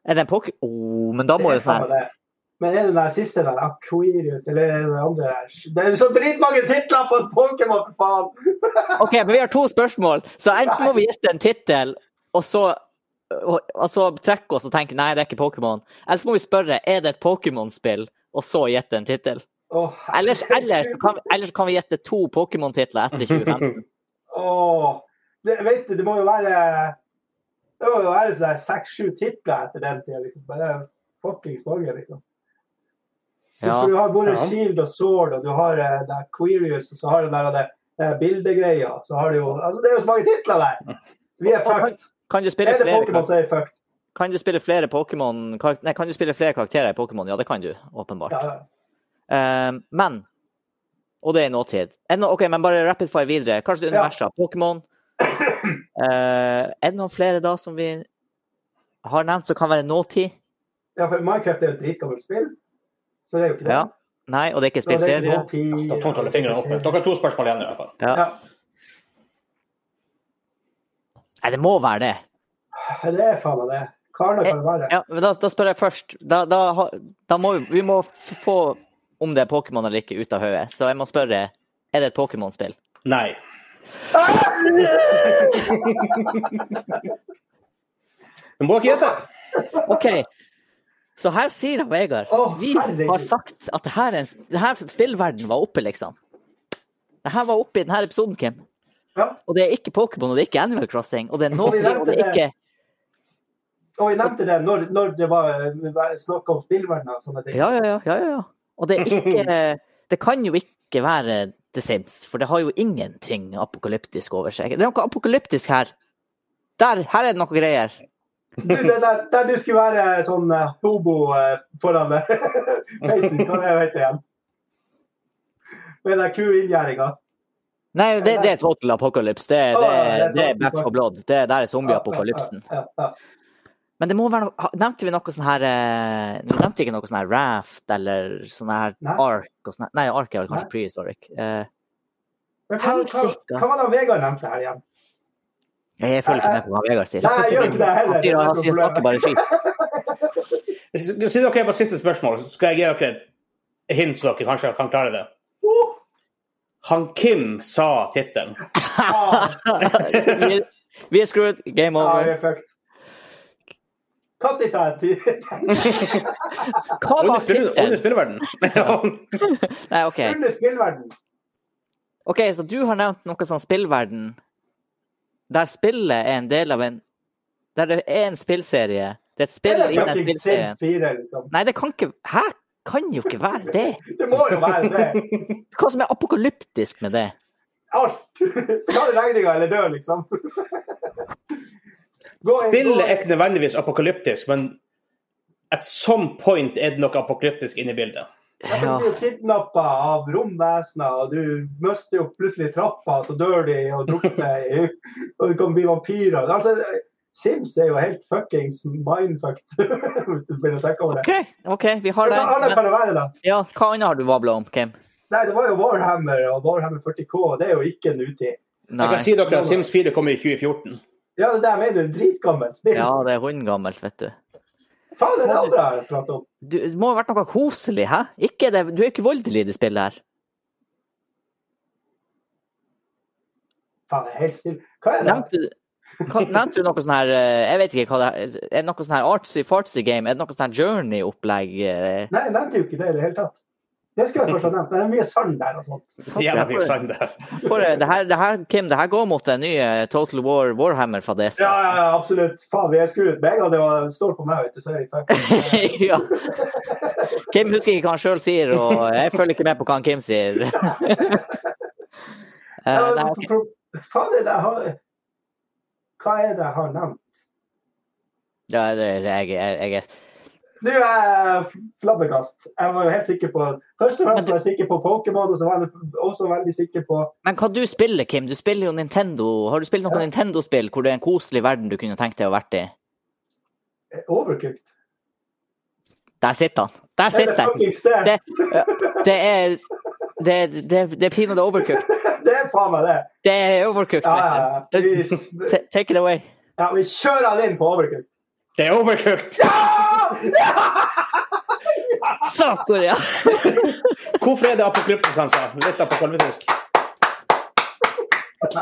Er det en Pokémon? Oh, men da må
det
det
er faen
være
meg det. Men er det den der siste der, Aquarius, eller er det den andre der? Det er så dritmange titler på Pokémon, for faen!
OK, men vi har to spørsmål, så enten må vi gjette en tittel, og så og, og så trekke oss og tenke nei, det er ikke Pokémon. Eller så må vi spørre er det et Pokémon-spill, og så gjette en tittel.
Åh, (laughs)
Ellers, ellers, så kan, vi- ellers så kan vi gjette to Pokémon-titler etter
(laughs)
2015.
Åh, det, vet du, det må jo være Det må jo være sånn seks-sju titler etter den tida, liksom. Det er fuckings mange, liksom.
Ja.
For du har både
Ja.
Shield og Sword, og du har eh, det er Quirius, og så har du den der, det er bildegreia. Så har du jo Altså, det er jo så mange titler der! Vi er fucked.
Kan du spille
Er det
flere,
Pokémon,
kar-
så er vi fucked.
kan du spille flere Pokémon kar- Nei, kan du spille flere karakterer i Pokémon? Ja, det kan du, åpenbart.
Ja, ja.
Eh, men Og det er i nåtid. Er det no, OK, men bare rapid fire videre. Kanskje det er
Ja.
universet. Pokémon.
(coughs)
Eh, er det noen flere da som vi har nevnt som kan være nåtid?
ja, for Minecraft er jo et dritgammelt spill, så det er jo ikke det.
Ja. Nei, og det er ikke
Så det er ikke
spillserie?
noe tid,
Da tok dere fingrene opp. Dere har to spørsmål igjen i hvert fall.
Ja.
Ja.
Nei, det må være det.
Det er faen meg det. Karne kan det være.
Ja, men da, da spør jeg først. Da, da, ha- da må vi, vi må f- få om det er Pokémon eller ikke ut av hodet. Så jeg må spørre er det et Pokémon-spill.
(laughs)
Nei. Men må dere gjette.
OK. Så her sier han, Vegard
Å,
Vi
herregud.
har sagt at det her, er en, det her spillverden var oppe, liksom. Det her var oppe i denne episoden, Kim.
Ja.
Og det er ikke Pokémon, og det er ikke Animal Crossing, og det er
Og vi
nåtid, og det er
nevnte
ikke
Og vi nevnte det når, når det var eh, snakk om spillverdenen og sånne ting.
Ja, ja, ja. ja, ja, ja. Og det er ikke Det kan jo ikke være The Sims, for det har jo ingenting apokalyptisk over seg. Det er noe apokalyptisk her. Der, her er det noe greier.
Du, det der, der du skulle være eh, sånn eh, hobo eh, foran (laughs) deg. Peisen, hva det heter det igjen? Med den kuinngjerdinga.
Nei, det, det er total apocalypse. Det, det, det er back for blood. Det, der er zombieapokalypsen.
Ja, ja,
Men det må være noe ha- Nevnte vi noe sånn her eh, Vi nevnte ikke noe sånn her raft eller sånn her
Nei.
ark og sånn her- Nei, ark er vel
Nei.
kanskje prehistoric. Eh,
Men hva, hva,
Helsike.
hva var det Vegard nevnte her igjen?
Jeg følger ikke med på hva Vegard sier.
Nei, jeg gjør ikke det heller.
Han sier, han sier snakker bare skit.
Siden dere er på siste spørsmål, så skal jeg gi dere et hint så dere kanskje kan klare det.
Oh,
Han Kim sa tittelen.
(laughs)
faen.
vi, er- vi er screwed. Game
Ah, ja, vi
(laughs) over.
er fucked. Katti sa jeg (laughs) til
Hva
Under
var
spill- under
tittelen? (laughs)
spilleverden.
Nei, OK.
under spillverden.
OK, så du har nevnt noe sånn spillverden der spillet er en del av en Der det er en spillserie. Det er et (laughs) spill
Eller
innen
fucking Sims
spillserien.
4, liksom.
Nei, det kan ikke Hæ? Kan jo ikke være det.
Det må jo være det.
Hva som er apokalyptisk med det?
Alt! (laughs) Betal regninga eller dø, liksom. (laughs) Gå inn-
Spillet
gå-
er ikke nødvendigvis apokalyptisk, men at some point er det noe apokalyptisk inne i bildet.
Ja, men
Ja.
Du blir kidnappa av romvesener, og du mister jo plutselig trappa, så dør de og drukner i (laughs) Og du kan bli vampyrer. Altså, Sims er jo helt fuckings mindfucked, (laughs) hvis du begynner å tenke over det.
OK, ok, vi har
Men
det.
hva annet
Men,
kan det være, da?
ja, hva annet har du babla om, Kim?
Nei, det var jo Warhammer og Warhammer 40K, og det er jo ikke nutid.
Nei.
Jeg kan si dere at Sims 4 kom i 2014.
Ja, det der mener du, dritgammelt spill.
Ja, det er hundegammelt, vet du.
Faen, det er det andre jeg prater om.
du. Det må ha vært noe koselig, hæ? Ikke det, du er ikke voldelig i det spillet her.
Faen, det er helt stille. Hva er det?
Nevnte du, hva- nevnte du noe sånn her eh, Jeg vet ikke hva det er. Er det noe sånn her artsy-fartsy game? Er det noe sånn her Journey-opplegg? eh?
Nei, jeg nevnte jo ikke det i det hele tatt. Det skulle jeg først ha nevnt. men Det er mye sand der og sånn. sånt.
Sant,
Jævla
jeg
mye
får-
sang der.
For eh, det her, det her, Kim, det her går mot en ny eh, Total War Warhammer-fadese.
Ja, ja, ja, absolutt. Faen, vi er skrudd. Med en gang det var, står på meg, vet du, så er jeg
(laughs) Eh,
fuckings
(laughs) ja. Kim husker ikke hva han sjøl sier, og jeg følger ikke med på hva han Kim sier. (laughs) Eh,
Ja,
nei,
men
ok.
pro- Faen, det der har Hva er det jeg har nevnt?
ja, det, jeg, jeg, jeg er
Nå er jeg flabbekast. Jeg var jo helt sikker på Først og
Men
fremst
du-
var jeg sikker på Pokémon, og så var jeg også veldig sikker på
Men hva du spiller, Kim? Du spiller jo Nintendo. Har du spilt noe
Ja.
Nintendo-spill hvor det er en koselig verden du kunne tenkt deg å vært i?
eh, Overcooked.
Der sitter han. Der
Det er
sitter han.
fuckings det.
Det, ja, det er Det, det, det er pinadø overcooked.
(laughs) Det er faen meg det.
Det er overcooked.
Ja, ja, ja.
vet du.
Vi-
Ta- Take it away.
ja, vi kjører han inn på Overcooked.
Det er overcooked!
Ah!
Saker, ja.
Hvorfor er det apokalyptisk, han sa? Litt apokalyptisk.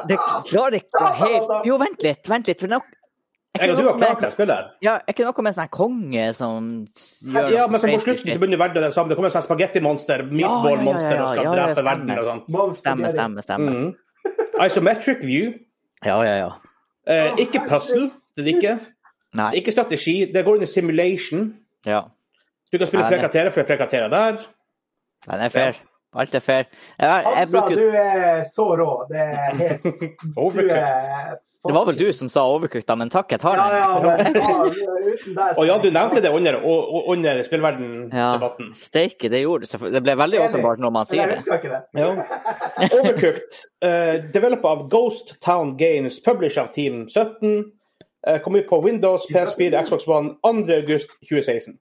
Det klarer ikke helt
Altså.
Jo, vent litt. Vent litt. For det er nok- er
Jeg
ikke
og du
noe
har klart
med-
det spillet her.
Ja, er ikke noe med sånn her konge som gjør
Ja,
noe
men så på
crazy
slutten så
shit?
begynner verden det samme. Det kommer en sånn spagettimonster, meatball-monster,
ja, ja,
og skal
ja, ja,
drepe
stemmer.
verden og sånt.
Stemmer, stemmer, stemmer.
Mhm. Isometric view.
Ja, ja, ja.
Eh, ikke puzzle. Det er det ikke.
Nei.
Ikke strategi. Det går under simulation.
Ja.
Du kan spille
Ja,
flere
det-
karakterer for flere karakterer der.
Den er fair. Alt er fair. Jeg, jeg
Altså,
bruker,
du er så rå. Det er helt Du
Overcooked.
er
det var vel du som sa overcooked, da, men takk, jeg tar
Ja,
den.
ja,
(laughs)
men faen, uten deg
Og ja, du nevnte det under, og- og- under spillverden-debatten.
Steike, det gjorde du. selvfølgelig. Det ble veldig
Enig.
åpenbart når man
Men
sier
jeg
det.
husker ikke det.
Ja. Overcooked. Uh, Developa av Ghost Town Games, publisher av Team 17. eh, kom ut på Windows, PS4, Xbox One 2.8.2016.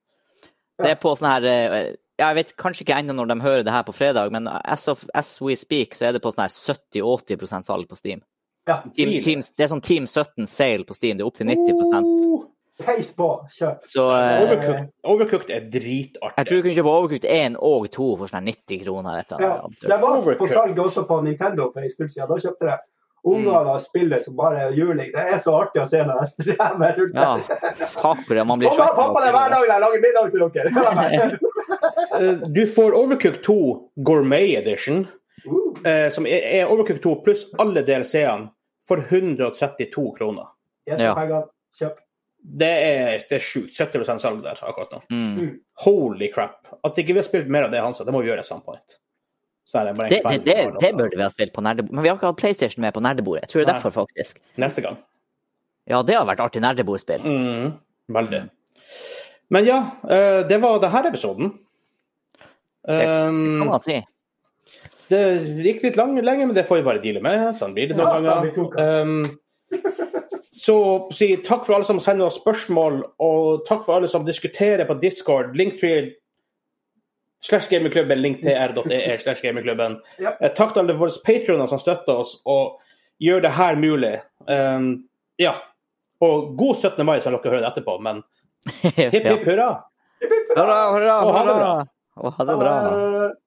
Det er på sånn her eh, Jeg vet kanskje ikke ennå når de hører det her på fredag, men as, of, as we speak, så er det på sånn her 70-80 salg på Steam.
Ja,
Team, Team, det er sånn Team 17-sale på Steam. Det er opp til 90
Oh,
Peis på. Kjør.
Så eh,
Uh, Overcooked, Overcooked er
Jeg tror
dritartig.
du kunne kjøpe Overcooked 1 og 2 for sånn her 90 kroner. Vet du.
Ja, det var på
Overcooked.
salg også på Nintendo for en stund siden. Da kjøpte jeg unger og spiller som bare er juling. Det er så artig å se når jeg strever rundt
Ja,
der.
saker, ja, man blir
Mamma og pappa, det er hver dag jeg lager middag til dere. Hør meg.
Eh, du får Overcooked 2 Gourmet Edition,
Uh,
eh, som er, er Overcooked 2 pluss alle DLC-ene, for 132 kroner.
jeg
Ja.
tar penger. Kjøp.
Det er, det er sjukt. 70 salg der akkurat nå.
Mm.
Holy crap. At ikke vi har spilt mer av det han sa, det må vi gjøre i some point. Så er det bare en
Det, det,
kveld vi
det,
har
det
noe.
burde vi ha spilt på nerdebordet. Men vi har ikke hatt PlayStation med på nerdebordet. Jeg tror det er
Nei.
derfor, faktisk.
Neste gang.
Ja, det har vært artig nerdebordspill.
Mm, veldig. Men ja, eh, det var denne episoden.
Kan
Um,
man si. (laughs)
det gikk litt lang, lenge, men det får vi bare deale med. Sånn blir det noen
Ja, vi tok
ganger. Um, så si takk for alle som sender oss spørsmål, og takk for alle som diskuterer på Discord. Link til slash gamingklubben, linktr.ee slash gamingklubben.
Ja.
Eh, Takk til alle våre patroner som støtter oss og gjør det her mulig. Um, ja. Og god 17. mai, som dere hører det etterpå, men hipp
Ja.
hipp hurra!
Hurra, hurra,
Og ha det
hurra.
bra.
Og ha det bra.
Eh,